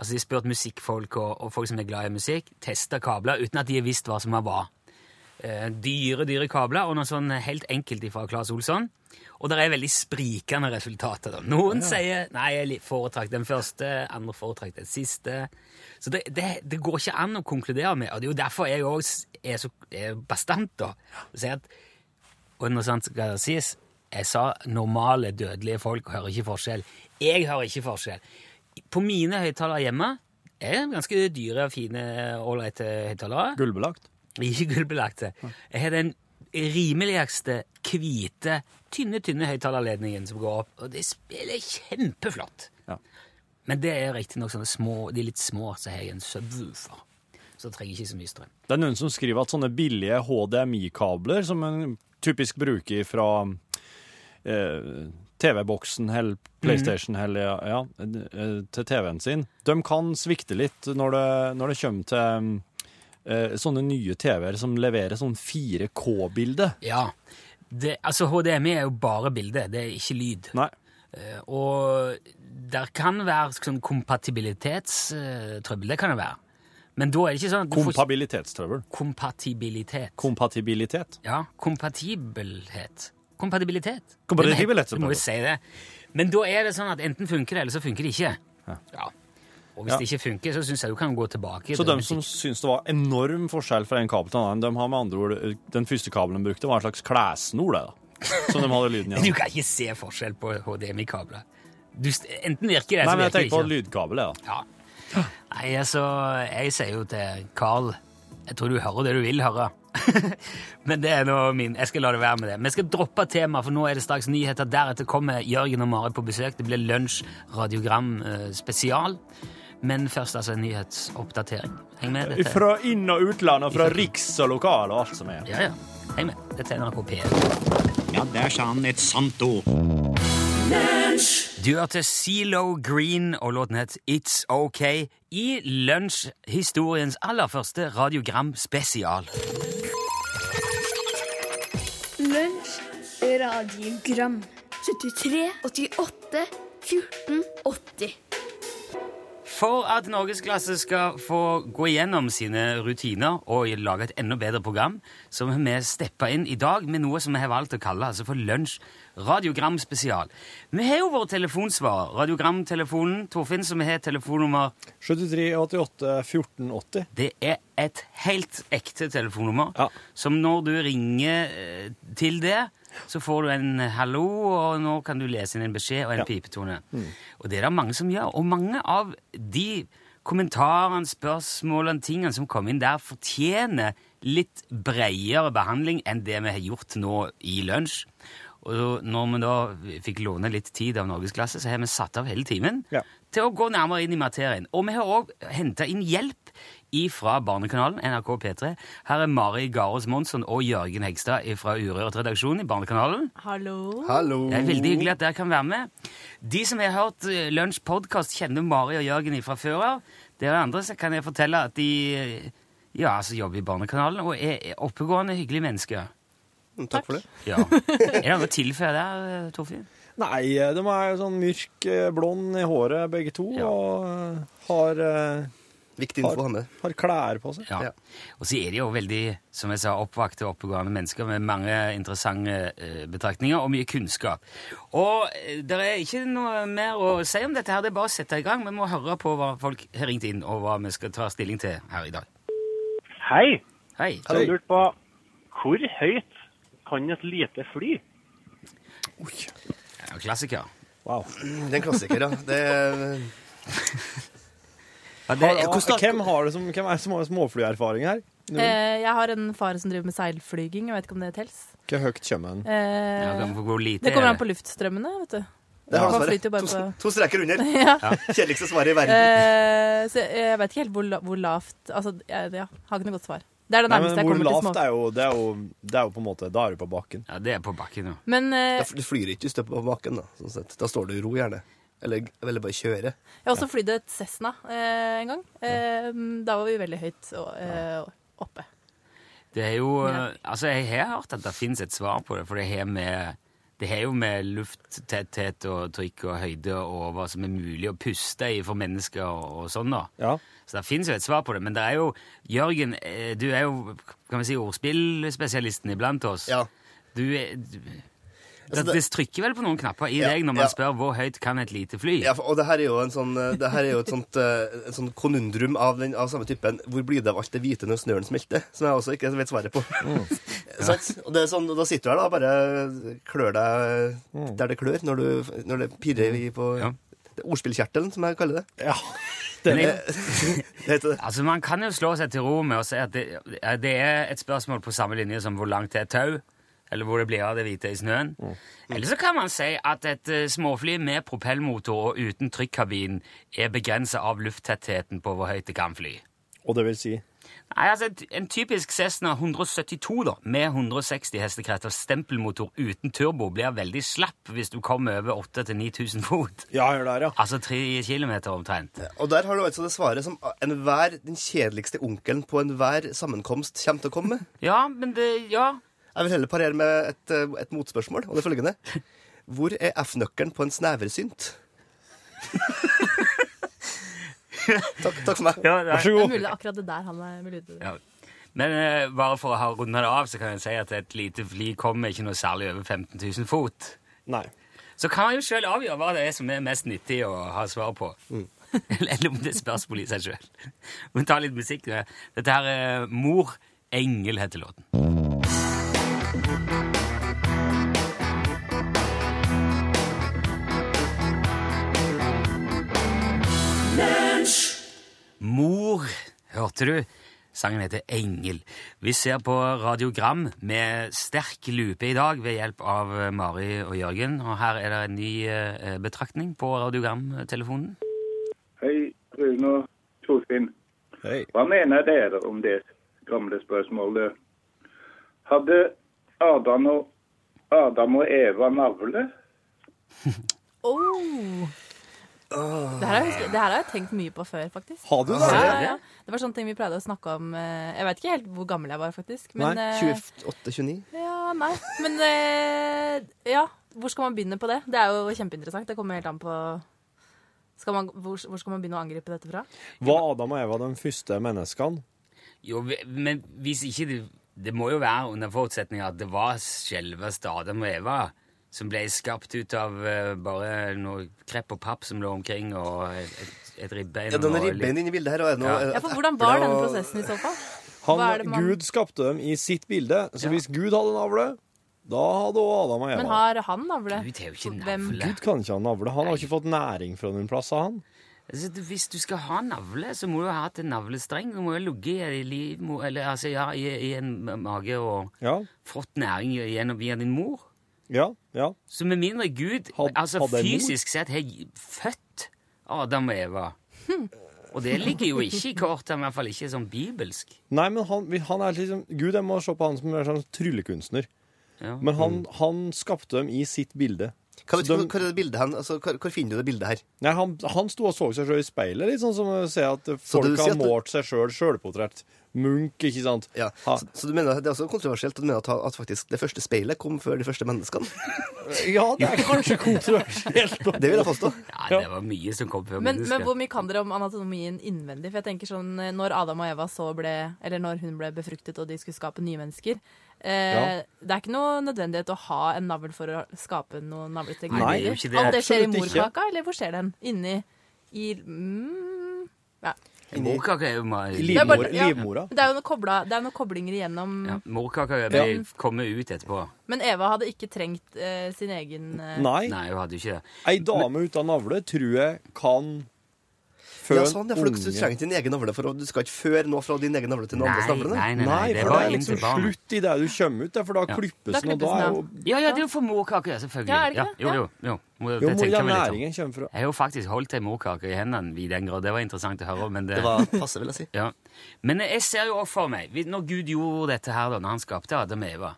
S2: Altså De spurte musikkfolk og, og folk som er glad i musikk, testa kabler uten at de visste hva som var hva. Eh, dyre, dyre kabler, og noe sånn helt enkelt fra Claes Olsson. Og det er veldig sprikende resultater. da. Noen sier nei, jeg li- foretrakk den første, andre foretrakk den siste. Så det, det, det går ikke an å konkludere med, og det er jo derfor jeg òg er så er bastant da, og sier at og og når sant skal det sies, jeg sa normale dødelige folk hører ikke forskjell. Jeg hører ikke forskjell. På mine høyttalere hjemme er ganske dyre, fine, ålreite høyttalere.
S3: Gullbelagt.
S2: Ikke gullbelagte. Jeg har den rimeligste, hvite, tynne, tynne høyttalerledningen som går opp, og det spiller kjempeflott.
S3: Ja.
S2: Men det er riktignok sånne små, de litt små, så har jeg en subwoofer. Så trenger jeg ikke så mye strøm.
S3: Det er noen som skriver at sånne billige HDMI-kabler, som en typisk bruker fra eh, TV-boksen eller
S2: Mhm.
S3: PlayStation eller, ja, eh, til TV-en sin, de kan svikte litt når det, når det kommer til eh, sånne nye TV-er som leverer sånn 4K-bilde.
S2: Ja, det, altså HDMI er jo bare bilde, det er ikke lyd.
S3: Nei.
S2: Eh, Og der kan være sånn kompatibilitetstrøbbel, det kan det være. Men da er det ikke sånn at du får
S3: Kompabilitetstrøbbel.
S2: ikke kompatibilitet.
S3: Kompatibilitet.
S2: ja, kompatibelhet. Kompatibilitet.
S3: Kompatibilitet,
S2: Du må jo si det. Men da er det sånn at enten funker det, eller så funker det ikke. Ja. Og hvis
S3: Ja.
S2: det ikke funker, så syns jeg du kan gå tilbake.
S3: Så
S2: til
S3: de som syns det var enorm forskjell fra en kabel til en annen, de har med andre ord eh, Den første kabelen de brukte, var en slags klessnor, det, da. Som de hadde lyden
S2: Du
S3: gjennom.
S2: kan ikke se forskjell på HDMI-kabler. Du, st- enten virker
S3: Nei,
S2: det, så
S3: men jeg
S2: virker det
S3: tenker
S2: Altså, ikke.
S3: på lydkabel, jeg, da.
S2: Ja. Nei, altså, jeg sier jo til Carl Jeg tror du hører det du vil høre. Men det er nå min Jeg skal la det være med det. Vi skal droppe temaet, for nå er det straks nyheter. Deretter kommer Jørgen og Marit på besøk. Det blir lunsj, radiogram eh, spesial. Men først altså en nyhetsoppdatering. Heng med. Dette.
S3: Fra inn- og utland, og fra riks og lokal og alt som er.
S2: Ja, ja. Heng med. Dette er NRK P1.
S6: Ja, der sa han et sant ord.
S2: Du hørte Zelo Green, og låten het It's OK i Lunsj, historiens aller første radiogram spesial.
S7: Lunsj, radiogram 73, 88, 14, 80
S2: For at norgesklasse skal få gå igjennom sine rutiner og lage et enda bedre program, så har vi steppa inn i dag med noe som vi har valgt å kalle altså for Lunsj radiogram spesial. Vi har jo vår telefonsvarer, radiogramtelefonen, Torfinn, som har telefonnummer
S3: 73 88 14 80.
S2: Det er et helt ekte telefonnummer,
S3: Ja.
S2: som når du ringer eh, til det, så får du en hallo, og nå kan du lese inn en beskjed og en pipetone.
S3: Mm.
S2: Og det er det mange som gjør, og mange av de kommentarene, spørsmålene, tingene som kom inn der, fortjener litt bredere behandling enn det vi har gjort nå i lunsj. Og når vi da fikk låne litt tid av norgesklasse, så har vi satt av hele timen
S3: Ja.
S2: til å gå nærmere inn i materien. Og vi har også henta inn hjelp fra Barnekanalen, NRK P3. Her er Mari Garås Monsson og Jørgen Hegstad fra Urørt-redaksjonen i Barnekanalen.
S8: Hallo.
S3: Hallo.
S2: Det er veldig hyggelig at dere kan være med. De som har hørt eh, Lunsj podkast, kjenner Mari og Jørgen fra før av. Dere andre så kan jeg fortelle at de eh, ja, altså jobber i Barnekanalen og er er oppegående, hyggelige mennesker.
S8: Mm,
S9: Takk for det.
S2: Ja. Er det noe å tilføye der, eh, Torfinn?
S3: Nei, de er jo sånn mørk eh, blond i håret, begge to,
S2: Ja.
S3: og eh, har, eh,
S9: Viktig info å ha
S3: har,
S9: med.
S3: har klær på seg.
S2: Ja.
S9: Ja.
S2: Og så er de jo veldig som jeg sa, oppvakte og oppegående mennesker med mange interessante eh, betraktninger og mye kunnskap. Og eh, det er ikke noe mer å si om dette, her, det er bare å sette i gang. Vi må høre på hva folk har ringt inn, og hva vi skal ta stilling til her i dag.
S10: Hei,
S2: Hei.
S10: jeg lurte på hvor høyt kan et lite fly?
S2: Ja, klassiker.
S3: Wow.
S9: Det er en klassiker, ja. Det er,
S2: Ja, det,
S3: Ja,
S9: hvordan-
S3: Eh, hvem, har det som, hvem er det som har småflyerfaring her?
S8: Eh, jeg har en far som driver med seilflyging. Jeg vet ikke om det tels.
S3: Hvor høyt kommer den?
S8: Eh,
S2: ja, kan få gå lite,
S8: det kommer an
S2: er det?
S8: på luftstrømmene, vet du.
S9: det har
S8: Man
S9: han svaret.
S8: flyter jo bare
S9: To,
S8: på-
S9: to streker under. Kjedeligste svaret i verden.
S8: Eh, så jeg, jeg vet ikke helt hvor, la- hvor lavt Altså, jeg ja, har ikke noe godt svar. Det er det
S3: Nei, men
S8: nærmeste jeg
S3: hvor
S8: kommer til
S3: lavt
S8: små...
S3: er jo, det er jo Det er jo på en måte Da er du på bakken.
S2: Ja, det er på bakken nå.
S8: Men eh,
S9: Da f- Du flyr ikke hvis du er på bakken, da. Sånn sett. Da står du i ro, gjerne. Eller, eller bare kjøre.
S8: jeg har også flydd et Cessna eh, en gang. Eh, da var vi veldig høyt og, eh, oppe.
S2: Det er jo
S8: Ja.
S2: eh, Altså, jeg har hørt at det fins et svar på det, for det har med det har jo med lufttetthet og trykk og høyde og hva som er mulig å puste i for mennesker og, og sånn, da.
S3: Ja.
S2: Så det fins jo et svar på det. Men det er jo Jørgen, eh, du er jo kan vi si ordspillspesialisten iblant oss.
S9: Ja.
S2: Du er du-
S9: Altså,
S2: det,
S9: det-
S2: trykker vel på noen knapper i
S9: Ja,
S2: deg når
S9: ja.
S2: man spør hvor høyt kan et lite fly?
S9: Ja, for- og det her er jo, en sånn, eh, det her er jo et sånt, eh, et sånt konundrum av, den, av samme typen. Hvor blir det av alt det hvite når snøen smelter? Som jeg også ikke vet svaret på. Sant? Og det er sånn, og da sitter du her da, og bare klør deg der det klør, når, du, når det pirrer i på det er Ordspillkjertelen, som jeg kaller det.
S3: Ja,
S2: Men
S9: det
S2: jeg-
S9: heter det.
S2: Altså, Man kan jo slå seg til ro med å si at det, eh, det er et spørsmål på samme linje som hvor langt det er tau, eller hvor det blir av det hvite i snøen.
S9: Mm.
S2: Eller så kan man si at et eh, småfly med propellmotor og uten trykkabin er begrensa av lufttettheten på hvor høyt det kan fly.
S3: Og det vil si
S2: Nei, altså, et- En typisk Cessna 172 da, med 160 hestekrefter stempelmotor uten turbo blir veldig slapp hvis du kommer over 8000-9000 fot.
S3: Ja, hør der, ja.
S2: Altså tre kilometer omtrent.
S9: Og der har du altså det svaret som enhver, den kjedeligste onkelen på enhver sammenkomst kommer til å komme med.
S2: Ja, men det Ja.
S9: Jeg vil heller parere med et, eh, et motspørsmål, og det er følgende. Hvor er F-nøkkelen på en sneversynt? takk, takk for meg.
S2: Vær så god.
S8: Det er mulig akkurat det der han er mulig ute.
S2: Ja. Men eh, bare for å ha runda det av, så kan jeg si at et lite fly kommer ikke noe særlig over 15 000 fot.
S3: Nei.
S2: Så kan man jo sjøl avgjøre hva det er som er mest nyttig å ha svar på.
S8: Mm.
S2: Eller om det er spørsmål i seg sjøl. Vi tar litt musikk. da. Dette her er Mor engel heter låten. Mor, hørte du? Sangen heter Engel. Vi ser på radiogram med sterk lupe i dag ved hjelp av eh, Mari og Jørgen. Og her er det en ny eh, betraktning på radiogramtelefonen.
S11: Hei, Rune og Torfinn. Hva mener dere om det gamle spørsmålet? Hadde Adam og, Adam og Eva navle?
S8: Oh. Det her, har jeg husket- det her har jeg tenkt mye på før, faktisk.
S3: Har du det?
S8: Ja,
S3: Har
S8: ja,
S3: du det?
S8: ja. Det var sånne ting vi pleide å snakke om eh, Jeg vet ikke helt hvor gammel jeg var, faktisk. Men,
S9: Nei,
S8: eh,
S9: 28-29?
S8: Ja, nei. Men eh, ja, hvor skal man begynne på det? Det er jo kjempeinteressant. Det kommer helt an på skal man, hvor, hvor skal man begynne å angripe dette fra?
S3: Var Adam og Eva de første menneskene?
S2: Jo, vi- men hvis ikke det Det må jo være under forutsetning at det var selveste Adam og Eva som ble skapt ut av eh, bare noe krepp og papp som lå omkring, og et, et ribbein
S9: Ja, denne
S2: og-
S9: ribbein inne i bildet her og er noe- eh,
S8: Ja, for Hvordan var denne prosessen i så fall?
S3: Han,
S8: Hva er det man-
S3: Gud skapte dem i sitt bilde, så hvis Gud hadde navle, da hadde også Adam og Eva.
S8: Men har han navle?
S2: Gud er jo ikke
S3: Gud kan ikke ha navle. Han har ikke fått næring fra noen plass, sa han.
S2: Altså, du- hvis du skal ha navle, så må du ha hatt en navlestreng. Du må jo ligge i, livmo- eller, altså, ja, i, i en mage og fått næring gjennom via din mor. Så med mindre Gud altså,
S3: hadde en mor?
S2: fysisk sett har gi- født Adam og Eva Og det ligger jo ikke i kortet, i hvert fall ikke sånn bibelsk.
S3: Nei, men han, vi- han er liksom Gud, jeg må se på han som en sånn tryllekunstner. Men han, han skapte dem i sitt bilde.
S9: Mm. Hva vet-
S3: Så de-
S9: hvor- hvor er det bildet hen? Altså, hvor, hvor finner du det bildet her?
S3: Nei, han, han sto og så seg sjøl i speilet, litt sånn som å se at folk
S9: du sier
S3: har
S9: at det-
S3: målt seg sjøl sjølportrett. Munch, ikke sant?
S9: Ja. Så, så du mener at det er også kontroversielt at du mener at, at faktisk det første speilet kom før de første menneskene?
S3: Ja, det er kanskje kontroversielt.
S9: Det vil jeg påstå.
S2: Ja, det var mye som kom før
S8: Men, men
S2: mennesket.
S8: hvor mye kan dere om anatomien innvendig? For jeg tenker sånn, eh, Når Adam og Eva så ble, eller når hun ble befruktet og de skulle skape nye mennesker eh,
S3: Ja.
S8: Det er ikke noe nødvendighet å ha en navl for å skapte noen navlete
S3: Nei, det er jo ikke det.
S8: Alt det skjer i
S3: Absolutt ikke.
S8: morkaka, eller hvor skjer den? Inni i mm, ja.
S2: Morkaka er jo meg.
S8: Det er bare- ja, Det er jo noen, kobla, det er noen koblinger igjennom
S2: Ja, morkaka
S8: Ja.
S2: ble- kommer ut etterpå.
S8: Men Eva hadde ikke trengt eh, sin egen eh,
S3: Nei.
S2: hun hadde ikke det.
S3: Ei dame uten navle tror jeg kan føde
S9: ja, sånn, ja, for Du trenger din egen navle, for å- du skal ikke føre noe fra din egen navle til noen andres navle.
S3: for det er liksom slutt i det du kommer ut, der, for da
S2: Ja.
S3: klippes den, og da er jo
S2: Ja, ja, det er jo for morkake, ja, selvfølgelig.
S3: Ja, er det ikke det?
S2: Jo, jo, jo. Må-
S3: Jo,
S2: det
S3: hvor
S2: tenker
S3: den
S2: vi litt om.
S3: næringen kommer fra.
S2: Jeg har jo faktisk holdt ei morkake i hendene i den grad. Det var interessant å høre, men det,
S9: Det var passe, vil jeg si.
S2: Ja. Men jeg ser jo også for meg, vi- når Gud gjorde dette her da, når han skapte Adam og Eva,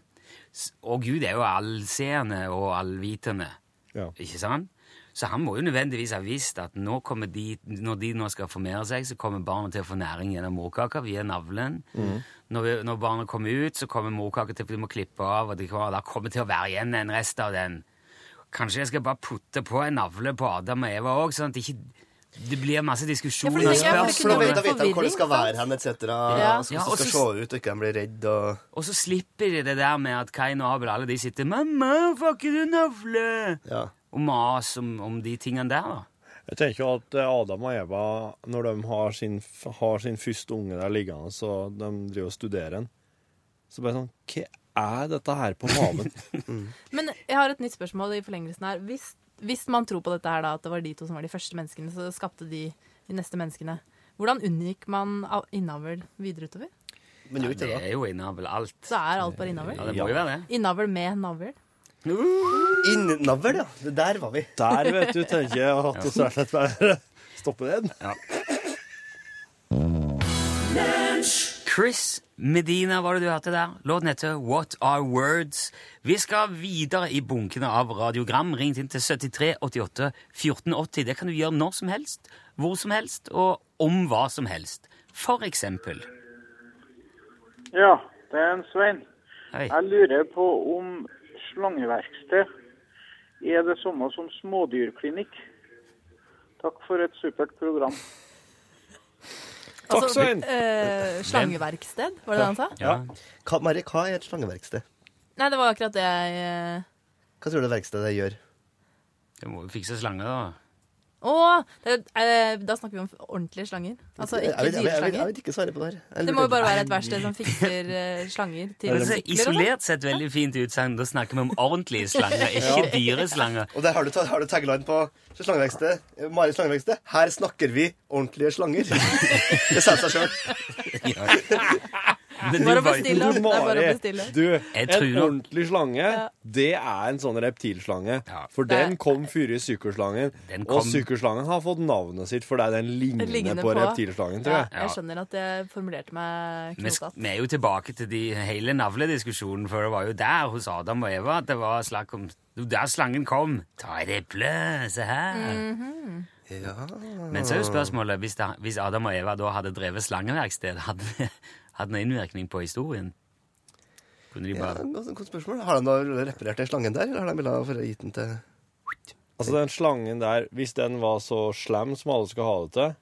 S2: s- og Gud er jo allseende og allvitende, ikke sant? Så han må jo nødvendigvis ha visst at nå kommer de, når de nå skal formere seg, så kommer barnet til å få næring gjennom morkaka via navlen.
S12: Mhm.
S2: Når, vi, når barnet kommer ut, så kommer morkaka til å må klippe av, og det kommer, der kommer til å være igjen en rest av den. Kanskje jeg skal bare putte på en navle på Adam og Eva òg, sånn at ikke Det blir masse diskusjoner.
S9: Ja,
S2: og
S9: for da
S2: spørsmål.
S9: vet da vet de hvor de skal være hen, etc.
S2: Ja.
S9: Hvordan
S2: Ja, og
S9: de skal
S2: så-
S9: se ut, Ah, og ikke de blir redd og
S2: Og så slipper de det der med at Kain og Abel alle de sitter 'Mamma, får ikke du navle?' og mas om, om de tingene der. da.
S3: Jeg tenker jo at eh, Adam og Eva, når de har sin, f- har sin første unge der liggende, så de driver og studerer den, så bare sånn Hva er dette her på maven?
S8: Men jeg har et nytt spørsmål i forlengelsen her. Hvis, hvis man tror på dette her da, at det var de to som var de første menneskene, så skapte de de neste menneskene. Hvordan unngikk man av- innavl videre utover?
S2: Nei, det er jo innavl alt.
S8: Så er alt bare innavl?
S2: Ja, det må jo være det.
S8: Innavl med navl?
S9: Innavl, ja. Der var vi.
S3: Der, vet du, tenker jeg at det er rett bare stoppe den.
S2: Altså, Chris Medina var det du hørte der. Låten heter What Are Words. Vi skal videre i bunkene av radiogram. Ringt inn til 73 88 1480. Det kan du gjøre når som helst, hvor som helst og om hva som helst. For eksempel
S12: Ja, det er en Svein.
S2: Hei.
S12: Jeg lurer på om slangeverksted er det samme som smådyrklinikk. Takk for et supert program.
S8: Altså,
S12: Svein.
S8: eh, slangeverksted, var det det han sa?
S9: Hva, Mari, hva er et slangeverksted?
S8: Nei, det var akkurat det jeg eh,
S9: Hva tror du verkstedet gjør?
S2: Det må jo fikse slanger, da.
S8: Å! det er- eh, da snakker vi om ordentlige slanger. Altså
S9: Jeg
S8: ikke
S9: vet- jeg vet- jeg vet- Jeg
S8: dyreslanger.
S9: vet ikke svaret på det her. Jeg
S8: Det
S9: lurer
S8: må jo
S9: på-
S8: bare være et verksted som fikser eh, slanger til
S2: Det ser
S8: sykler og sånn.
S2: isolert sett veldig fint utsagn. Da snakker vi om ordentlige slanger, ikke
S9: Ja.
S2: dyreslanger.
S9: Og der har du, ta- har du tagline på slangeverksted. Mari Slangeverksted. Her snakker vi ordentlige slanger. Det sa seg sjøl.
S2: Men
S9: Bare
S2: du var-
S9: bestill, da.
S3: Du,
S9: Det er bare å
S3: Mari,
S9: bestille.
S3: du,
S2: Jeg
S3: en
S2: tror nok-
S3: ordentlig slange, det er en sånn reptilslange. For
S2: Det-
S3: den kom fyre i sykerslangen,
S2: kom-
S3: og sykerslangen har fått navnet sitt fordi den ligner,
S8: Lignende
S3: på, reptilslangen, tror jeg.
S8: sånn. Ja, jeg skjønner at jeg formulerte meg
S2: Vi, sk-
S8: knotete.
S2: vi er jo tilbake til de hele navlediskusjonen, for det var jo der hos Adam og Eva at det var snakk om Der slangen kom. Ta et eple, se her.
S8: Mhm.
S2: Men så er jo spørsmålet hvis, da, hvis Adam og Eva da hadde drevet slangeverksted, hadde det hatt noen innvirkning på historien? Kunne de
S9: Ja,
S2: bare
S9: godt godt spørsmål. Har de da reparert den slangen der, eller har de villet for å gitt den til
S3: Altså, den slangen der, hvis den var så slem som alle skal ha det til,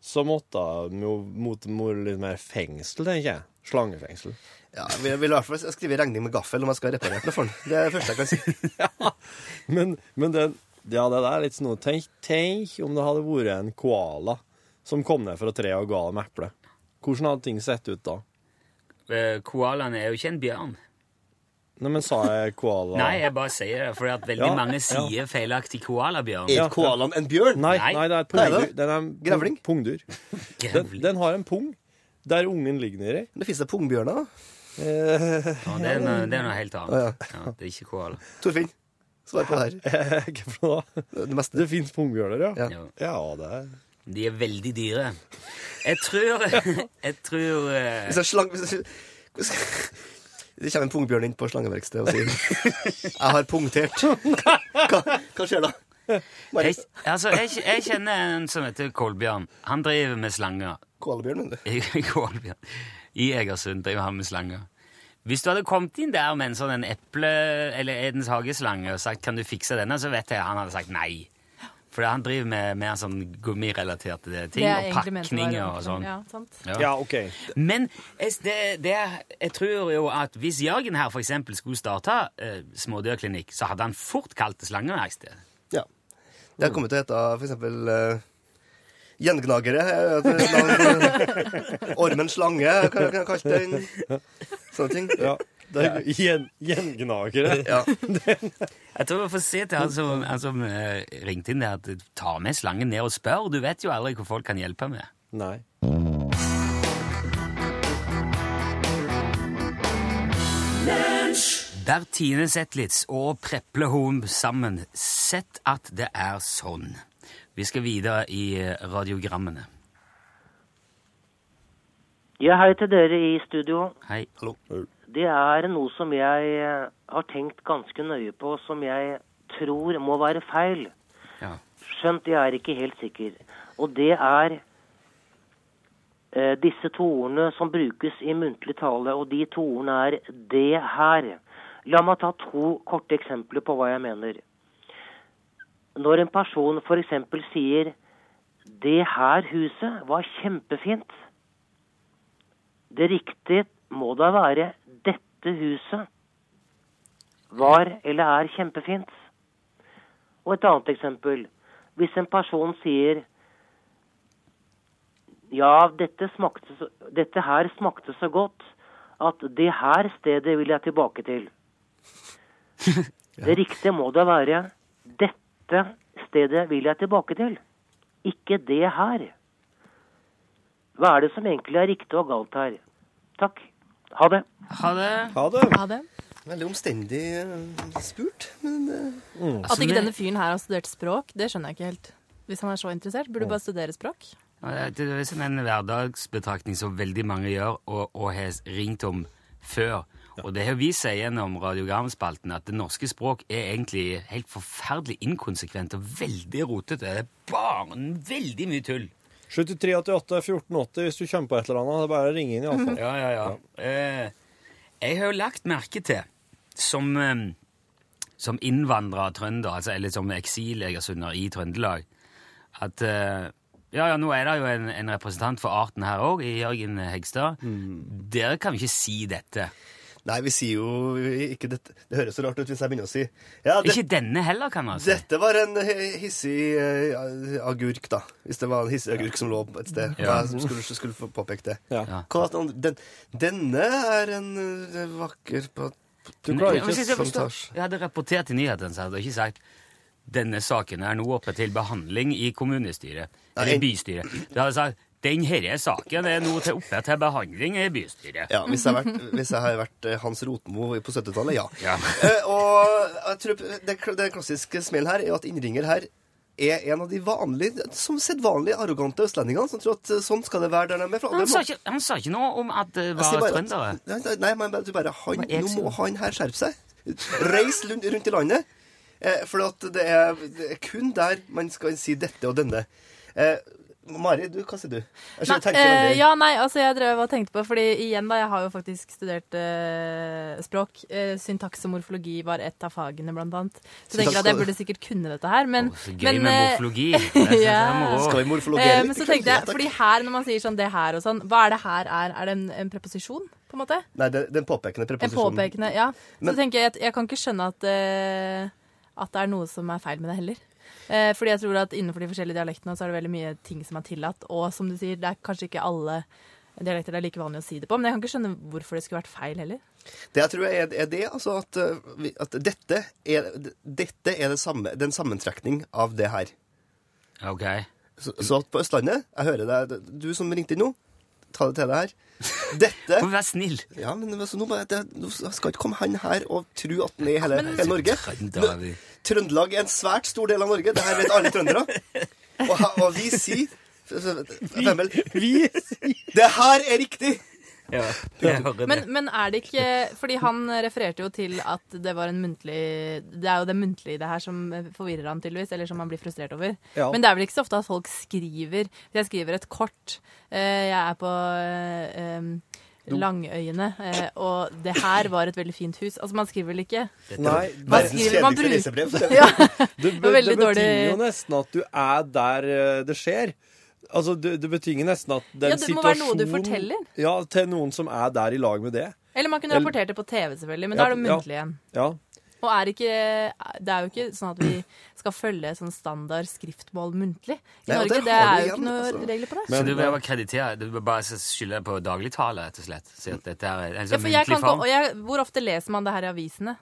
S3: så måtte de jo mot mot litt mer fengsel, tenker jeg. Slangefengsel.
S9: Ja, jeg vil- jeg vil i hvert fall skrive regning med gaffel om jeg skal ha reparert noe for den. Det er det første jeg kan si.
S3: Men, men den, ja, det der er litt snodig. Tenk, tenk om det hadde vært en koala som kom ned fra treet og ga dem eple. Hvordan hadde ting sett ut da?
S2: Eh, Koalaen er jo ikke en bjørn.
S3: Nei, men sa jeg koala
S2: Nei, jeg bare sier det, for at veldig
S3: Ja,
S2: mange
S3: ja.
S2: sier feilaktig koalabjørn.
S3: Ja.
S9: en bjørn?
S3: Nei,
S2: Nei.
S3: nei, det er et
S2: Nei, det er
S3: pungdyr.
S2: det.
S3: Den er en pung-
S2: Grevling?
S3: Pungdyr. Den, den har en pung der ungen ligger nedi.
S9: Det fins da pungbjørner, da.
S2: Ja, det, er noe, det er noe helt annet. Ja, det er ikke koala.
S9: Torfinn, svar på det
S3: her. Hva for noe da?
S9: Det meste.
S3: Det fins pungbjørner, ja.
S2: Ja.
S3: det er
S2: De er veldig dyre. Jeg tror Jeg tror eh,
S9: Hvis jeg slang... Hvis jeg, hvis det kommer en pungbjørn inn på slangeverkstedet og sier 'Jeg har punktert'. Hva, hva skjer da? Bare,
S2: jeg, altså, jeg, jeg kjenner en som heter Kolbjørn. Han driver med slanger.
S9: Kålbjørn, mener
S2: du? Kålbjørn. I Egersund driver han med slanger. Hvis du hadde kommet inn der med en sånn en eple- eller Edens hageslange og sagt 'kan du fikse denne', så vet jeg han hadde sagt nei. For han driver med mer sånn gummirelaterte ting,
S8: Det jeg
S2: og
S8: egentlig mente var
S2: pakninger og sånn.
S8: Ja, sant.
S3: ok.
S2: Men jeg, det, det, jeg tror jo at hvis Jørgen her for eksempel skulle starte eh, smådyrklinikk, så hadde han fort kalt det slangeverksted.
S9: Ja. Det har kommet til å hete for eksempel eh, Gjengnagere. eh, at det er navn- Ormen slange, hva kan jeg kalle den? Sånne ting.
S3: Ja. Det er gjen, gjengnagere.
S9: Ja.
S2: Jeg tror vi får se til han som, han som eh, ringte inn der, at ta med slangen ned og spør. Du vet jo aldri hvor folk kan hjelpe med.
S3: Nei.
S2: Bertine Zetlitz og Preple Hoem sammen. Sett at det er sånn. Vi skal videre i eh, radiogrammene.
S13: Jeg hei til dere i studio.
S2: Hei.
S13: Det er noe som jeg eh, har tenkt ganske nøye på, som jeg tror må være feil.
S2: Ja.
S13: Skjønt jeg er ikke helt sikker. Og det er eh, disse to ordene som brukes i muntlig tale, og de to ordene er 'det her'. La meg ta to korte eksempler på hva jeg mener. Når en person f.eks. sier Det her huset var kjempefint. Det riktige må da være dette huset var eller er kjempefint. Og et annet eksempel. Hvis en person sier ja, dette, smakte, så- dette her smakte så godt at det her stedet vil jeg tilbake til. Det riktige må da være dette stedet vil jeg tilbake til, ikke det her. Hva er det som egentlig er riktig og galt her? Takk. Ha det.
S2: Ha det.
S9: Ha det.
S8: Ha det.
S9: Veldig omstendig eh, spurt, men eh,
S8: At ikke denne fyren her har studert språk, det skjønner jeg ikke helt. Hvis han er så interessert,
S2: Mm.
S8: burde du bare studere språk.
S2: Ja, Det er liksom en hverdagsbetraktning som veldig mange gjør og, og har ringt om før. Og det har vist seg gjennom radiogramspalten at det norske språk er egentlig helt forferdelig inkonsekvent og veldig rotete. Det er bare en veldig mye tull.
S14: 7388 1480 hvis du kommer på et eller annet. Det er bare å ringe inn, iallfall.
S2: Ja, ja, ja. Eh, jeg har jo lagt merke til, som, eh, som innvandrer av trønder, altså, eller som eksil-egersunder i Trøndelag, at eh, ja, ja, nå er det jo en, en representant for arten her òg, Jørgen Hegstad.
S9: Mm.
S2: Dere kan jo ikke si dette.
S9: Nei, vi sier jo ikke dette. Det høres så rart ut hvis jeg begynner å si ja, det-
S2: Ikke denne heller, kan altså. man si.
S9: Dette var en eh, hissig eh, agurk, da. Hvis det var en hissig agurk som lå på et sted.
S2: Ja.
S9: Ja. Jeg skulle, skulle få påpekt det.
S2: Ja.
S9: Hva, at han- den, denne er en eh, vakker pat-
S2: Men hvis jeg forstår- Jeg hadde rapportert i nyhetene, så jeg hadde jeg ikke sagt denne saken er nå oppe til behandling i kommunestyret, eller
S9: Nei.
S2: bystyret. Da hadde jeg sagt den herre saken er nå til oppe til behandling i bystyret.
S9: Ja, hvis jeg, har vært, hvis jeg har vært eh, Hans Rotmo på 70-tallet, ja.
S2: Ja.
S9: Eh, og jeg tror det, det klassiske smell her er jo at innringer her er en av de vanlige, som sedvanlige arrogante østlendingene som tror at eh, sånn skal det være der de er fra.
S2: Han
S9: Det
S2: sa,
S9: må-
S2: ikke, han sa ikke noe om at det
S9: Jeg sier
S2: var
S9: bare at-
S2: trøndere.
S9: Nei, nei, nei, men du bare han,
S2: Hva er
S9: Nå må
S2: det?
S9: han her skjerpe seg. Reis lund- rundt i landet. Eh, for at det, er, det er kun der man skal si dette og denne. Eh, Mari, du, hva sier du? Jeg skjønner,
S8: Nei,
S9: tenker veldig.
S8: eh, ja, nei, altså jeg drev og tenkte på, fordi igjen da, jeg har jo faktisk studert eh, språk. Eh, syntaks og morfologi var et av fagene, blant annet. Så jeg
S2: Syntaks
S8: tenker at jeg
S2: skal-
S8: burde sikkert kunne dette her, men...
S2: Så gøy
S8: men,
S2: med
S8: eh,
S2: morfologi. Det synes jeg
S8: ja.
S2: er moro.
S9: Skal vi
S8: Eh, men så tenkte jeg, fordi her, når man sier sånn det her og sånn, hva er det her er? Er det en, en preposisjon, på en måte?
S9: Nei, det, den påpekende
S8: En
S9: preposisjonen.
S8: påpekende, ja. Så
S9: Men-
S8: tenker jeg at jeg kan ikke skjønne at, eh, at det er noe som er feil med det heller. Eh, fordi jeg tror at innenfor de forskjellige dialektene så er det veldig mye ting som er tillatt. Og som du sier, det er kanskje ikke alle dialekter det er like vanlig å si det på. Men jeg kan ikke skjønne hvorfor det skulle vært feil heller.
S9: Det jeg tror er, er det, altså at, eh, vi- at dette er, dette er det samme, det er en sammentrekning av det her.
S2: Ok.
S9: Så, så at på Østlandet, jeg hører deg, du som ringte inn nå, ta det til deg her. Dette...
S2: Vær snill.
S9: Ja, men altså, nå, bare- det, nå skal ikke komme han her og tro at han er i hele,
S2: Men-
S9: hele Norge.
S2: Trønder, vi.
S9: Trøndelag er en svært stor del av Norge, det her vet alle trøndere. Og, ha- og vi sier... Femmel.
S14: Vi
S9: Det her er riktig!
S2: Ja, jeg hører
S8: Men,
S2: det.
S8: men er det ikke Fordi han refererte jo til at det var en muntlig Det er jo det muntlige i det her som forvirrer han tydeligvis, eller som han blir frustrert over.
S15: Ja.
S8: Men det er vel ikke så ofte at folk skriver Jeg skriver et kort. eh, Jeg er på eh, em,
S15: Do.
S8: Langøyene, eh, og det her var et veldig fint hus. Altså, man skriver vel ikke
S14: Nei,
S8: man
S14: verdens
S8: skriver, man
S14: kjedeligste lesebrev.
S8: bruker ja.
S14: Det,
S8: Det
S14: be,
S8: var
S14: det
S8: veldig
S14: betinger
S8: dårlig-
S14: jo nesten at du er der eh, det skjer. Altså, det, det betinger nesten at den
S8: Ja, det må være noe du
S14: situasjonen-
S8: forteller.
S14: Ja, til noen som er der i lag med det.
S8: Eller man kunne
S14: Eller-
S8: rapportert det på TV, selvfølgelig, men
S14: Ja,
S8: da er det
S14: ja.
S8: muntlig igjen.
S14: Ja.
S8: Og er ikke, det er jo ikke sånn at vi skal følge sånn standard skriftmål muntlig. I
S2: Nei, og
S8: Norge
S2: der
S8: det
S2: har
S8: er
S2: du
S8: jo ikke
S2: igjen,
S8: noen
S2: altså.
S8: regler på det.
S2: så du vil bare kreditere, du vil bare skylde på dagligtale, rett og slett. Si at dette er en
S8: ja,
S2: sånn
S8: for
S2: muntlig
S8: jeg kan, ikke-
S2: form.
S8: og jeg, hvor ofte leser man det her i avisene?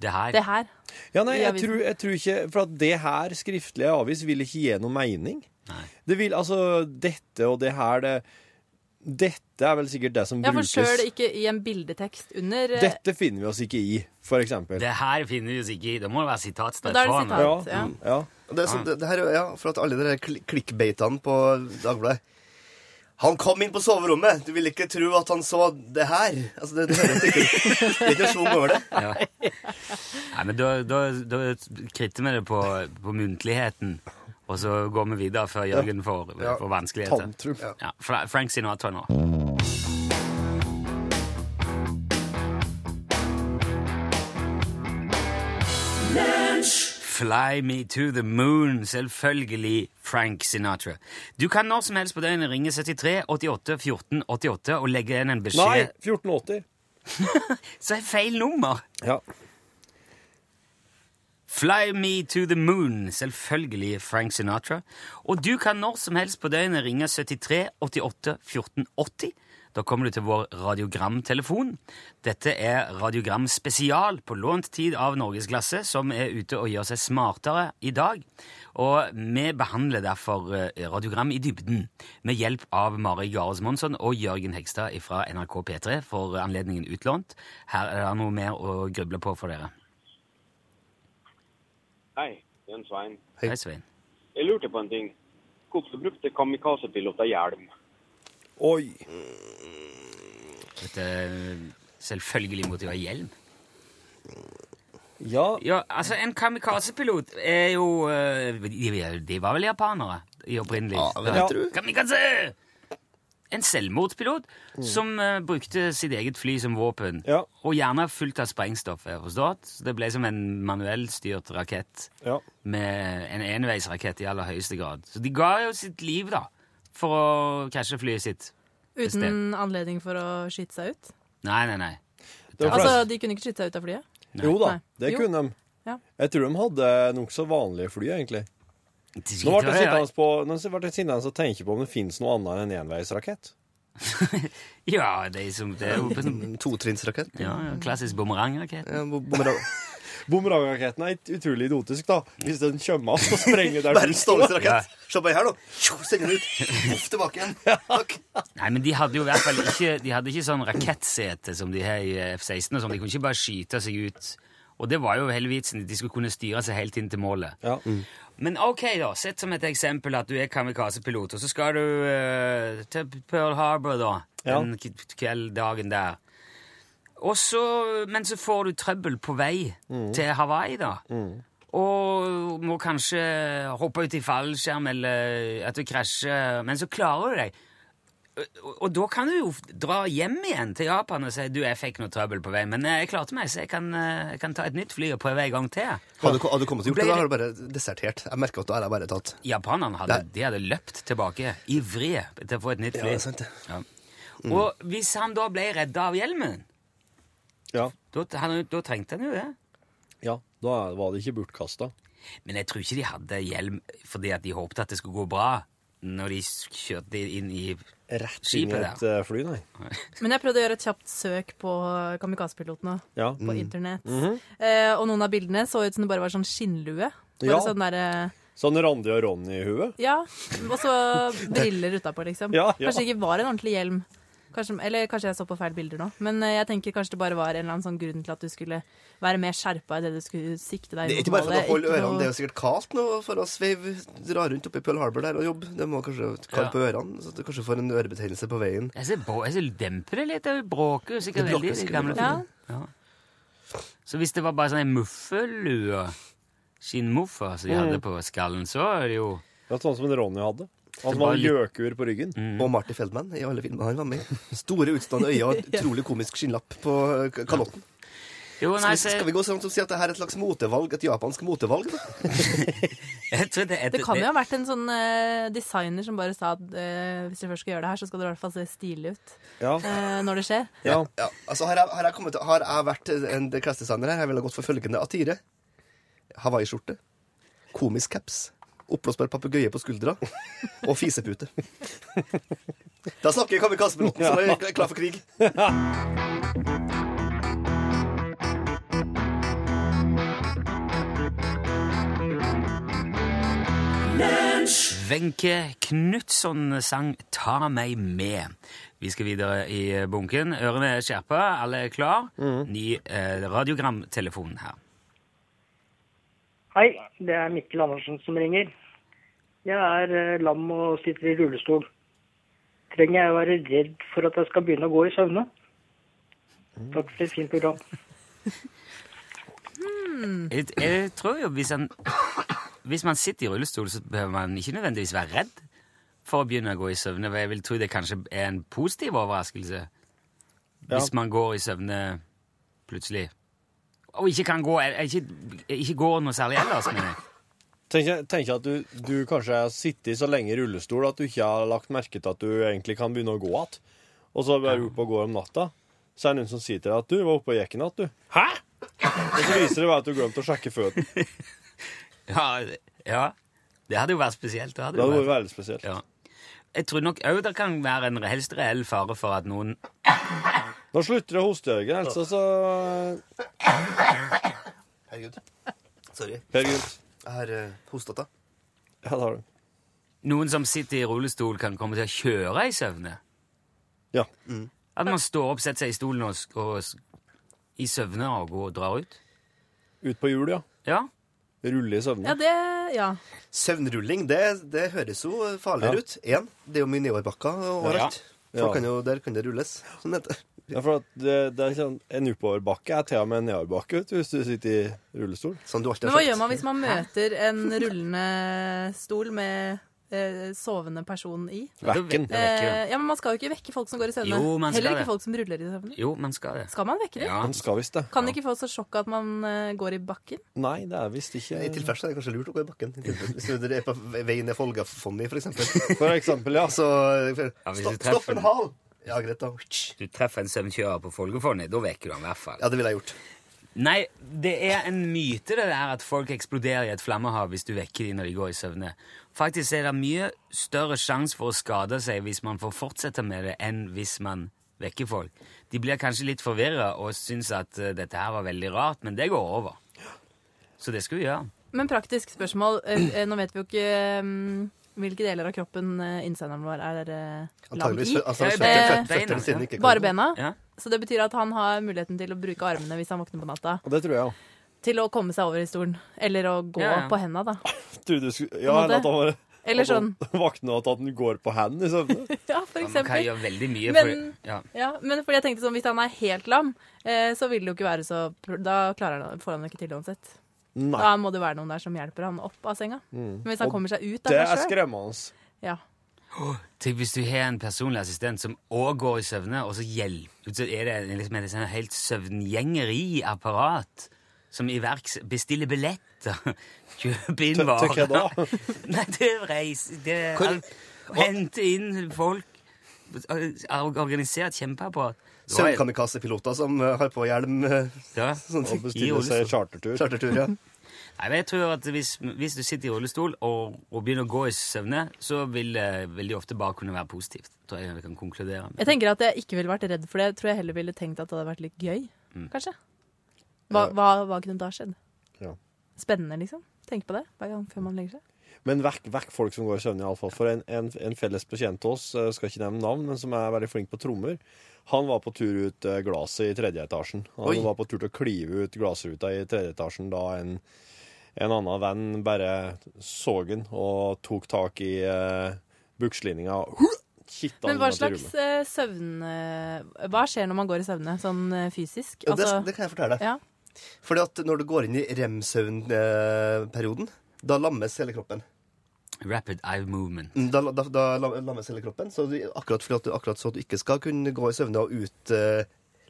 S2: Det her.
S8: Det her.
S14: Ja, nei,
S8: I
S14: jeg
S8: avisen.
S14: tror, jeg tror ikke For at det her skriftlige avis vil ikke gi noe mening. Det vil, altså, dette og det her, det Dette er vel sikkert det som
S8: Ja, for
S14: brukes.
S8: sjøl ikke i en bildetekst under eh,
S14: Dette finner vi oss ikke i, for eksempel.
S2: Det her finner vi oss ikke i. Det må det være sitatstøtt
S8: Da er det
S2: foran.
S8: sitat, Ja. ja.
S9: Og Det er sånn, det, det her, er jo- ja, for at alle de der kli- klikkbeitene på Dagbladet Han kom inn på soverommet! Du ville ikke tro at han så det her. Altså, det, det, høres ikke, det er ikke noe schwung over det.
S2: Ja. Nei, men da, da, da kritter vi det på, på muntligheten, og så går vi videre før Jørgen får,
S14: Ja.
S2: får vanskeligheter.
S14: Tantrum.
S2: Ja, Fra- Frank Sinatra nå. Fly me to the moon, selvfølgelig Frank Sinatra. Du kan når som helst på døgnet ringe 73 88 14 88 og legge igjen en
S14: Nei,
S2: beskjed.
S14: 1480.
S2: Så er feil nummer!
S14: Ja.
S2: Fly me to the moon, selvfølgelig Frank Sinatra. Og du kan når som helst på døgnet ringe 73 88 14 80. Da kommer du til vår radiogramtelefon. Dette er Radiogram spesial på lånt tid av Norgesklasse, som er ute og gjør seg smartere i dag. Og vi behandler derfor eh, Radiogram i dybden med hjelp av Mari Gares Monsson og Jørgen Hegstad fra NRK P3 for anledningen utlånt. Her er det noe mer å gruble på for dere.
S15: Hei, det er en Svein.
S2: Hei, Svein.
S15: Jeg lurte på en ting. Hvorfor brukte kamikazepiloter hjelm?
S14: Oi!
S2: Dette er
S14: eh,
S2: selvfølgelig måtte jo ha hjelm.
S14: Ja.
S2: altså En kamikazepilot er jo eh, de- De var vel japanere i opprinnelig?
S14: Ja, vil jeg tro.
S2: Kamikaze! En selvmordspilot
S14: Mm.
S2: som eh, brukte sitt eget fly som våpen. Og gjerne fullt av sprengstoff. har jeg forstått. Så det ble som en manuellstyrt rakett. Med en enveisrakett i aller høyeste grad. Så de ga jo sitt liv, da, for å krasje flyet sitt. et sted.
S8: Uten anledning for å skyte seg ut?
S2: Nei, nei, nei.
S8: Altså, de kunne ikke skyte seg ut av flyet?
S14: Jo da,
S8: Nei.
S14: det
S8: Jo.
S14: kunne de.
S8: Ja.
S14: Jeg tror de hadde nokså vanlige fly, egentlig. Nå
S2: var
S14: ble jeg
S2: det, ja.
S14: sittende på, nå ble jeg sittende og tenke på om det finnes noe annet enn en enveisrakett.
S2: Ja, det er, som, det er jo
S9: Totrinnsrakett.
S2: Ja, ja, klassisk bumerangrakett.
S9: Ja, bo- bumerang.
S14: Bumerangraketten er et utrolig idiotisk, da. Hvis den kommer av og sprenger der
S9: Verdens dårligste rakett. Se på den her, nå. Tjo, Send den ut. Poff, tilbake igjen. Takk.
S2: Nei, men de hadde jo i hvert fall ikke De hadde ikke sånn rakettsete som de har i F-16. og sånn. De kunne ikke bare skyte seg ut. Og det var jo hele vitsen. De skulle kunne styre seg helt inn til målet. Men ok, da. Sett som et eksempel at du er kamikazepilot, og så skal du eh, til Pearl Harbor, da.
S14: Ja.
S2: Den k- kveld, dagen der. Og så, men så får du trøbbel på vei
S14: Mm.
S2: til Hawaii, da. Og må kanskje hoppe ut i fallskjerm, eller at du krasjer. Men så klarer du deg. Og, og da kan du jo dra hjem igjen til Japan og si du, jeg fikk noe trøbbel på vei, men eh, jeg klarte meg, så jeg kan, eh, jeg kan ta et nytt fly og prøve en gang til.
S9: Hadde du, hadde du kommet og gjort
S2: Ble
S9: det, da
S2: det-
S9: hadde du bare desertert. Jeg merker at da er jeg bare tatt.
S2: Japanerne hadde, de hadde løpt tilbake, ivrige, til å få et nytt
S9: Ja,
S2: fly.
S9: det er sant det.
S2: Ja.
S9: Mm.
S2: Og hvis han da ble redda av hjelmen,
S14: Ja.
S2: da, han, da trengte han jo det.
S14: Ja, da var det ikke bortkasta.
S2: Men jeg tror ikke de hadde hjelm fordi at de håpte at det skulle gå bra når de s- kjørte inn i
S14: Inn i
S2: skipet
S14: et
S2: der.
S14: eh, fly, nei.
S8: Men jeg prøvde å gjøre et kjapt søk på kamikazepilotene
S14: Ja.
S8: på internett.
S14: Mhm.
S8: eh, og noen av bildene så ut som det bare var sånn skinnlue. Bare
S14: Ja.
S8: sånn derre
S14: Sånn Randi og Ronny-hue.
S8: Ja. Og så briller utapå, liksom.
S14: Ja, ja.
S8: Kanskje det ikke var en ordentlig hjelm. Kanskje, eller kanskje jeg så på feil bilder nå. Men eh, jeg tenker kanskje det bare var en eller annen sånn grunn til at du skulle være mer skjerpa i det du skulle sikte deg
S9: Det er ikke bare for å holde ørene, det er jo sikkert kaldt nå for å sveive, dra rundt oppe i Pearl Harbor der og jobbe. Det må kanskje være kaldt
S2: Ja.
S9: på ørene, så du kanskje får en ørebetennelse på veien.
S2: Jeg ser, bra- jeg ser demper det litt, det bråker jo sikkert
S9: Det bråker
S2: veldig i de
S9: sikkert
S2: gamle
S9: veldig.
S2: flyene. Ja. Så hvis det var bare sånn en muffelue, skinnmuffa, som de
S14: Mm.
S2: hadde på skallen, så er det jo
S14: Det er sånn som en Ronny hadde.
S2: Det
S14: Han som
S2: var
S14: hadde
S2: litt- Mm.
S14: gjøkur på ryggen.
S9: Og Marty Feldman i alle filmene han var med i. Store utstående øyne og utrolig komisk skinnlapp på eh, k- kalotten.
S2: Jo, nei,
S9: skal, vi,
S2: så-
S9: skal vi gå så langt som å si at dette er et slags motevalg, et japansk motevalg? da?
S2: Jeg tror det, er-
S8: Det kan jo ha vært en sånn eh, designer som bare sa at eh, hvis du først skal gjøre det her, så skal det i hvert fall se stilig ut eh, når det skjer.
S9: Ja. ja. Altså, har jeg, har, jeg kommet, til- har jeg vært en klesdesigner her, jeg ville gått for følgende attire. Hawaiiskjorte, komisk caps, oppblåsbar papegøye på skuldra og fisepute. Da snakker jeg kamikazepiloten, så er jeg klar for krig.
S2: Wenche Knutson sang 'Ta meg med'. Vi skal videre i bunken. Ørene er skjerpa, alle er klar.
S9: Mm.
S2: Ny eh, radiogramtelefon her.
S16: Hei, det er Mikkel Andersen som ringer. Jeg er eh, lam og sitter i rullestol. Trenger jeg å være redd for at jeg skal begynne å gå i søvne? Takk for et fint program.
S2: Jeg, jeg tror jo hvis, han, hvis man sitter i rullestol, så behøver man ikke nødvendigvis være redd for å begynne å gå i søvne. for Jeg vil tro det kanskje er en positiv overraskelse hvis man går i søvne plutselig. Og ikke kan gå, ikke, ikke går noe særlig ellers, mener jeg.
S3: Tenk, tenk at du, du kanskje har sittet så lenge i rullestol at du ikke har lagt merke til at du egentlig kan begynne å gå igjen. Og så er du oppe og går om natta. Så er det noen som sier til deg at du var oppe og gikk i natt, du. Hæ? Og så viser det bare at du glemte å sjekke føttene.
S2: Ja, det- ja. Det hadde jo vært spesielt. Det hadde,
S3: Det
S2: jo
S3: hadde
S2: vært.
S3: veldig spesielt.
S2: Ja. Jeg tror nok òg det kan være en helst reell fare for at noen
S3: Nå slutter det å hoste, Jørgen. Altså, så
S9: Herregud. Sorry.
S3: Herregud.
S9: Jeg har uh, hostet da.
S3: Ja, det har du.
S2: Noen som sitter i rullestol, kan komme til å kjøre i søvne.
S3: Ja.
S2: At man står opp, setter seg i stolen og, sk- og s- i søvne og går og drar ut.
S3: Ut på hjul, ja.
S2: Ja.
S3: Rulle i søvne.
S8: Ja, det Ja.
S9: Søvnrulling, det, det høres jo farligere
S3: Ja.
S9: ut. Én, det er jo mye nedoverbakker overalt.
S3: Ja.
S9: Folk
S3: Ja.
S9: Kan jo, der kan det rulles. Sånn heter det.
S3: Ja, for at det, det er sånn, En oppoverbakke er til og med en nedoverbakke vet du, hvis du sitter i rullestol.
S9: Som Sånn du alltid
S8: Men hva gjør man hvis man møter en rullende stol med eh, sovende person i?
S3: Vekken.
S8: Eh, ja, men Man skal jo ikke vekke folk som går i søvne.
S2: Jo, man skal
S8: Heller ikke
S2: det.
S8: folk som ruller i søvne.
S2: Jo, man skal det.
S8: Skal man vekke dem?
S2: Ja.
S3: Man skal visst det.
S8: Kan de ikke få så sjokk at man eh, går i bakken?
S3: Nei, det er visst ikke
S9: I tilfelle så er det kanskje lurt å gå i bakken. i tilfelle. Hvis du er på vei ned Folgafonny, for eksempel.
S3: For eksempel, ja.
S9: Så
S2: Ja, hvis du
S9: stopp,
S2: treffer
S9: stopp en
S2: den.
S9: hal! Ja, greit, da.
S2: Du treffer en søvnkjører på Folgefonnet, da vekker du ham i hvert fall.
S9: Ja, det ville jeg gjort.
S2: Nei, det er en myte det der at folk eksploderer i et flammehav hvis du vekker dem når de går i søvne. Faktisk er det mye større sjanse for å skade seg hvis man får fortsette med det, enn hvis man vekker folk. De blir kanskje litt forvirra og syns at eh, dette her var veldig rart, men det går over. Så det skal vi gjøre.
S8: Men praktisk spørsmål. eh, eh, nå vet vi jo ikke eh, hvilke deler av kroppen eh, innsenderen vår er uh, lam i.
S9: Antageligvis, altså,
S8: Eh,
S9: føttene- føttene sine ikke kan-
S8: bare bena.
S9: Ja.
S8: Så det betyr at han har muligheten til å bruke armene hvis han våkner på natta.
S3: Og det tror jeg òg.
S8: Til å komme seg over i stolen. Eller å gå
S3: Ja, ja.
S8: på henda, da.
S3: Du, du skulle,
S8: På
S3: ja,
S8: en måte.
S3: eller at han bare
S8: Eller sånn.
S3: at han Våkner og at han går på liksom. hendene i søvne.
S8: Ja, for
S2: Man kan
S8: eksempel.
S2: gjøre veldig mye
S8: Men-
S2: for ja.
S8: Ja, men fordi jeg tenkte sånn, hvis han er helt lam, eh, så vil det jo ikke være så pr- Da klarer han, får han det ikke til uansett.
S3: Nei.
S8: Da må det være noen der som hjelper han opp av senga.
S2: Mm.
S8: Men hvis han
S2: Og
S8: kommer seg ut av
S2: det
S8: seg
S2: er
S8: selv-
S3: skremmende.
S8: Ja.
S2: Tenk hvis du har en personlig assistent som òg går i søvne, og så hjelper Så er det liksom et sånn helt søvngjengeriapparat som iverks bestiller billetter, kjøper inn
S3: Til- til
S2: varer
S3: hva da?
S2: Nei, det er reise det er
S3: Hvor-
S2: alt. Hente inn folk. Or- Organisert kjempeapparat. Det var-
S9: Søvnkamikazepiloter som eh, sånn har på hjelm.
S2: Ja,
S3: Sånn
S9: og
S2: bestiller seg
S3: chartertur.
S9: Chartertur, ja.
S2: Nei, men jeg tror at hvis, hvis du sitter i rullestol og, og begynner å gå i søvne, så vil det veldig ofte bare kunne være positivt. Tror jeg vi kan konkludere med.
S8: Jeg tenker at jeg ikke ville vært redd for det. Jeg tror jeg heller ville tenkt at det hadde vært litt gøy,
S2: Mm.
S8: kanskje. Hva, hva, hva kunne da skjedd?
S3: Ja.
S8: Spennende, liksom. Tenk på det hver gang før man legger seg.
S3: Men vekk, vekk folk som går i søvne, iallfall. For en, en, en felles bekjent av oss, eh, skal ikke nevne navn, men som er veldig flink på trommer, han var på tur ut eh, glaset i tredje etasjen. Han
S9: Oi.
S3: var på tur til å klive ut glassruta i tredje etasjen da en, en annen venn bare så han og tok tak i eh, bukslinninga. Kitta
S8: Men hva slags eh, søvn eh, Hva skjer når man går i søvne, sånn eh, fysisk?
S9: Ja, det- det kan jeg fortelle deg.
S8: Ja.
S9: Fordi at når du går inn i rem-søvnperioden, da lammes hele kroppen.
S2: Rapid eye movement.
S9: Mm, Da, da, da lam- lammes hele kroppen. Så du, akkurat, fordi at du, akkurat så at du ikke skal kunne gå i søvne og ut, eh,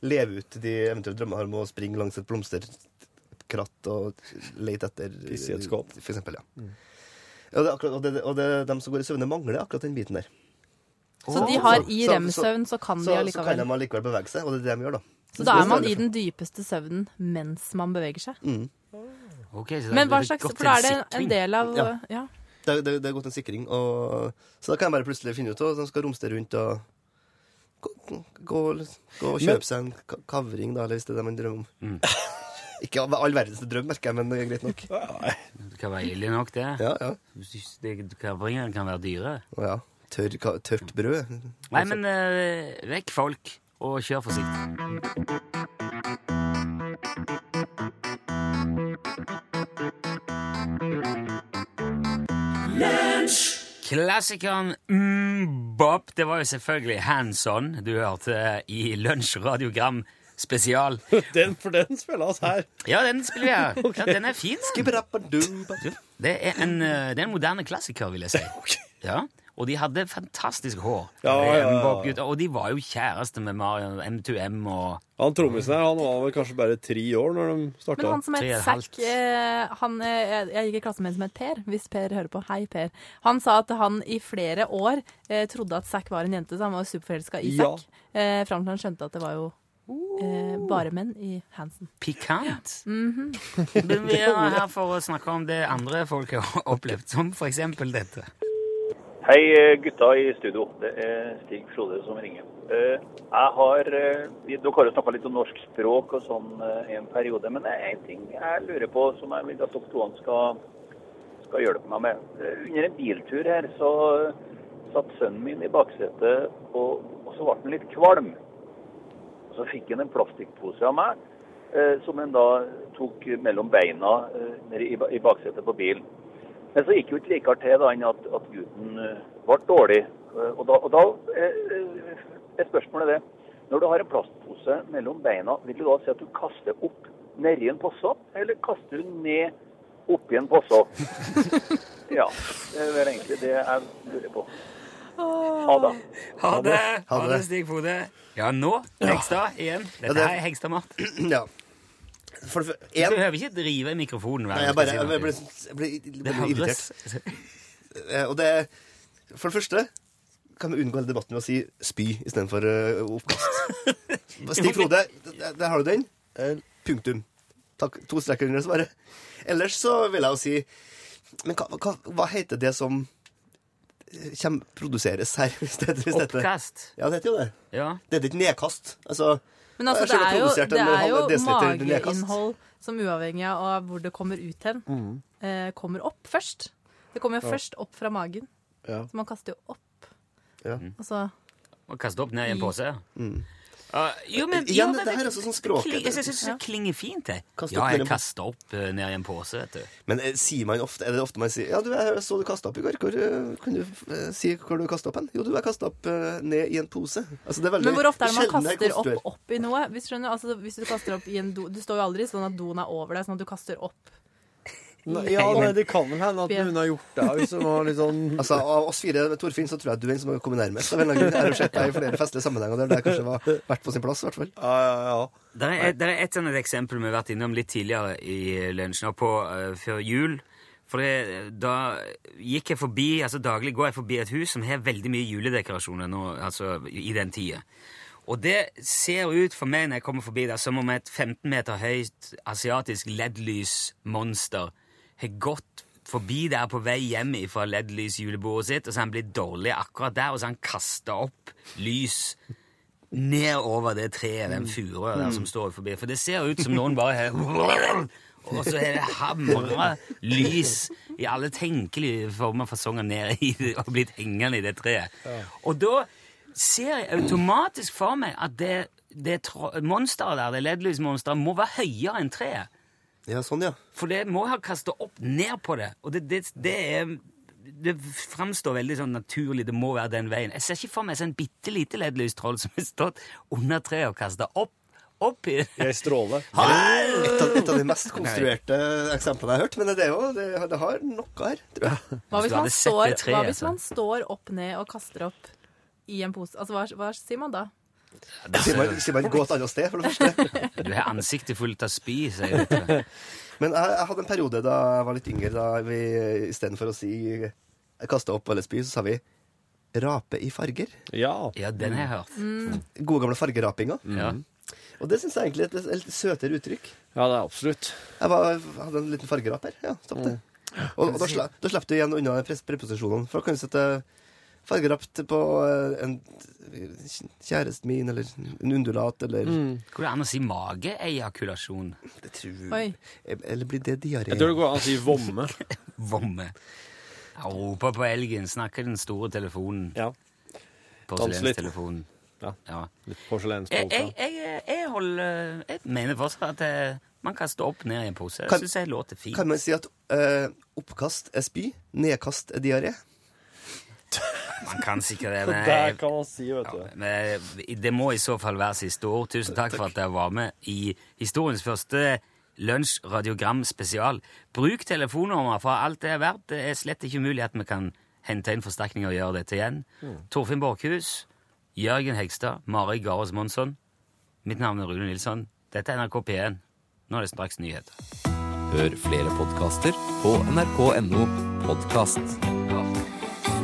S9: leve ut de eventuelle drømmene her med å springe langs et blomsterkratt og lete etter
S3: Pisse i et skap.
S9: For eksempel, ja.
S3: Mm.
S9: Og, det, er akkurat, og, det, og det, dem som går i søvne, mangler akkurat den biten der.
S8: Så de har i rem-søvn, så kan de
S9: Så
S8: allikevel.
S9: kan de allikevel bevege seg, og det er det de gjør, da.
S8: Så da er man i den dypeste søvnen mens man beveger seg.
S2: Ok, så da blir
S8: Men hva
S2: det
S8: slags
S2: godt
S8: For da er det
S2: en
S8: en
S2: sikring.
S8: del av
S9: Ja.
S8: Ja.
S9: Det, er- det, er- det er gått en sikring, og, så da kan jeg bare plutselig finne ut av at de skal romstere rundt og gå, gå, gå og
S3: Men-
S9: kjøpe seg en ka- kavring, da, eller hvis det er det man drømmer om. Mm. Ikke all- all verdens drøm, merker jeg, men det er greit nok.
S2: Det kan være ille nok, det.
S9: Ja, ja.
S2: Hvis ikke- det- Kavringene kan være dyre.
S9: Å ja. Tørr, ka- tørt brød.
S2: Nei, men eh, vekk folk, og kjør forsiktig. Klassikeren mm, Bop, det var jo selvfølgelig Hands On du hørte i Lunsj Radiogram spesial.
S3: Den, for den spiller oss her.
S2: Ja, den spiller vi her.
S3: Ok.
S2: Ja, den er fin, den. Det er en, eh, det er en moderne klassiker, vil jeg si. Ja, Og de hadde fantastisk hår.
S14: Ja, ja, ja.
S2: Regnbåkgutter, Og de var jo kjæreste med Marion M2M og
S14: Han trommisen her han var vel kanskje bare tre år når de starta.
S8: Men han som het Zack, eh, han, eh, jeg- jeg gikk i klasse med en som het Per, hvis Per hører på. Hei, Per. Han sa at han i flere år eh, trodde at Zack var en jente, så han var jo superforelska i
S2: Ja.
S8: Zack. Eh, Fram til han skjønte at det var jo eh, bare menn i Hansen.
S2: pikant.
S8: Mhm.
S2: Men vi er her for å snakke om det andre folk har opplevd, som for eksempel dette.
S17: Hei, eh, gutta i studio. Det er Stig Frode som ringer. Eh, Jeg har eh, vi- Dere har jo snakka litt om norsk språk og sånn eh, i en periode. Men det er en ting jeg lurer på som jeg vil at dere to skal, skal hjelpe meg med. Eh, Under en biltur her så eh, satt sønnen min i baksetet, og, og så ble han litt kvalm. Og så fikk han en plastikkpose av meg, eh, som han da tok mellom beina eh, nede i, ba- i baksetet på bilen. Men så gikk jo ikke likere til da enn at, at gutten eh, ble dårlig. Eh, Og da, og da eh, er spørsmålet det. Når du har en plastpose mellom beina, vil du da si at du kaster opp nedi en posse, eller kaster du ned oppi en posse? Ja, det er vel egentlig det jeg lurer på. Ha det.
S2: Ha det,
S9: Ha
S2: ha
S9: det.
S2: det Stig Frode. Ja, nå Hegstad igjen. Dette
S9: Ja, det-
S2: er Hegstad Mart.
S9: Ja. For, for,
S2: Du behøver ikke drive mikrofonen. hver
S9: Nei, jeg
S2: gang
S9: bare
S2: du sier
S9: jeg ble,
S2: noe.
S9: jeg ble,
S2: Det
S9: jeg ble irritert. Eh, Og det For det første kan vi unngå hele debatten med å si spy istedenfor uh, oppkast. Stig Frode, der, der har du den. Eh, punktum. Takk. To streker under svaret. Ellers så vil jeg jo si Men hva, hva, hva heter det som eh, kjem, produseres her? Hvis det, hvis dette-
S2: Oppkast.
S9: Ja, det heter jo det.
S2: Ja.
S9: Det heter ikke nedkast. Altså,
S8: Men altså,
S9: jeg
S8: det
S9: selv har
S8: er jo,
S9: produsert en
S8: det er
S9: halv
S8: jo
S9: desiliter nedkast.
S8: mageinnhold som uavhengig av hvor det kommer ut hen,
S9: Mhm.
S8: eh, kommer opp først. Det kommer jo
S2: Ja.
S8: først opp fra magen.
S2: Ja.
S8: Så man kaster jo opp. Altså,
S9: Ja.
S8: Og så
S2: Og kaste opp ned i en pose.
S9: Mm.
S2: Ah, jo, men,
S9: Igjen,
S2: jo, men-
S9: dette her er sånn som språket.
S2: kling- Jeg syns det klinger fint, det.
S9: Kaste
S2: Ja,
S9: opp ned i
S2: jeg
S9: en pose.
S2: kaster opp eh, ned i en pose, vet du.
S9: Men eh, sier man ofte, er det ofte man sier Ja, du, jeg så du kasta opp i går. Hvor, eh, kan du eh, si hvor du kasta opp hen? Jo, du, jeg kasta opp eh, ned i en pose. Altså, det er veldig
S8: Men hvor ofte er det man
S9: sjelden jeg
S8: kaster opp,
S9: konstruerer.
S8: opp i noe? Hvis, du skjønner, altså, hvis du kaster opp i en do Du står jo aldri sånn at doen er over deg, sånn at du kaster opp.
S14: Nei, ja, nei, det kan vel hende at hun har gjort det. Hvis hun var litt sånn
S9: Altså, Av oss fire, Torfinn, så tror jeg at du er den som har kommet nærmest. Av en eller annen grunn. Jeg har jo sett deg i flere festlige sammenhenger der det kanskje var vært på sin plass. i hvert fall.
S2: Der er, der er et sånt eksempel vi har vært innom litt tidligere i lunsjen, og på eh, før jul. For det, da gikk jeg forbi, altså daglig går jeg forbi et hus som har veldig mye juledekorasjoner nå, altså i den tida. Og det ser ut for meg når jeg kommer forbi der, som om et 15 meter høyt asiatisk LED-lysmonster har gått forbi der på vei hjem fra LED-lysjulebordet sitt, og så har han blitt dårlig akkurat der, og så har han kasta opp lys ned over det treet, den furua der som står forbi. For det ser ut som noen bare har Og så er det hamra lys i alle tenkelige former og fasonger ned i det, og blitt hengende i det treet. Og da ser jeg automatisk for meg at det, det tro- monsteret der, det LED-lysmonsteret, må være høyere enn treet.
S9: Ja, sånn, ja.
S2: For det må ha kasta opp ned på det. Og det, det, det er det framstår veldig sånn naturlig. Det må være den veien. Jeg ser ikke for meg sånn bitte lite LED-lystroll som har stått under treet og kasta opp, opp i
S14: Jeg stråler.
S9: Et av, et av de mest konstruerte eksemplene jeg har hørt. Men det, er jo, det, det har noe her, tror jeg.
S8: Hva hvis, man står, hva hvis man står opp ned og kaster opp i en pose? Altså, hva, hva sier man da?
S9: Sier man, sier man 'gå et annet sted', for det første?
S2: Du har ansiktet fullt av spy, sier du.
S9: Men jeg, jeg hadde en periode da jeg var litt yngre, da vi istedenfor å si kaste opp eller spy, så sa vi rape i farger.
S14: Ja.
S2: den har jeg hørt.
S9: Mm. Gode gamle fargerapinga.
S14: Mm.
S2: Ja.
S9: Og det syns jeg egentlig er et litt- litt søtere uttrykk.
S14: Ja, det er absolutt.
S9: Jeg var, hadde en liten fargerap her. Ja, stopp det. Og, og da, sla, da slapp du igjen unna pres- preposisjonene. For da kan du sette fargerapt på eh, en kjæresten min, eller en undulat, eller
S2: Går det an å si mageejakulasjon?
S9: Det tror
S2: Oi.
S9: Eller blir det diaré?
S14: Jeg tror det går an å si vomme.
S2: Vomme. Jeg roper på elgen, snakker den store telefonen.
S14: Ja.
S2: Porselenstelefonen.
S14: Ja.
S2: Ja.
S14: Litt
S2: Jeg,
S14: porselensposer.
S2: jeg, jeg, jeg holder Jeg mener fortsatt at eh, man kan stå opp ned i en pose.
S9: Kan-
S2: Jeg syns jeg låter fint.
S9: Kan man si at eh, oppkast er spy, nedkast er diaré?
S2: Man kan sikkert det, men,
S14: Der kan man si, vet du.
S2: men det må i så fall være siste ord. Tusen takk for at dere var med i historiens første lunsjradiogram spesial. Bruk telefonnummeret for alt det er verdt. Det er slett ikke umulig at vi kan hente inn forsterkninger og gjøre dette igjen.
S7: Mm.
S2: Torfinn Borkhus, Jørgen Hegstad, Mari Garås Monsson. Mitt navn er Rune Nilsson. Dette er NRK P1. Nå er det straks nyheter.
S5: Hør flere podkaster på nrk.no podkast.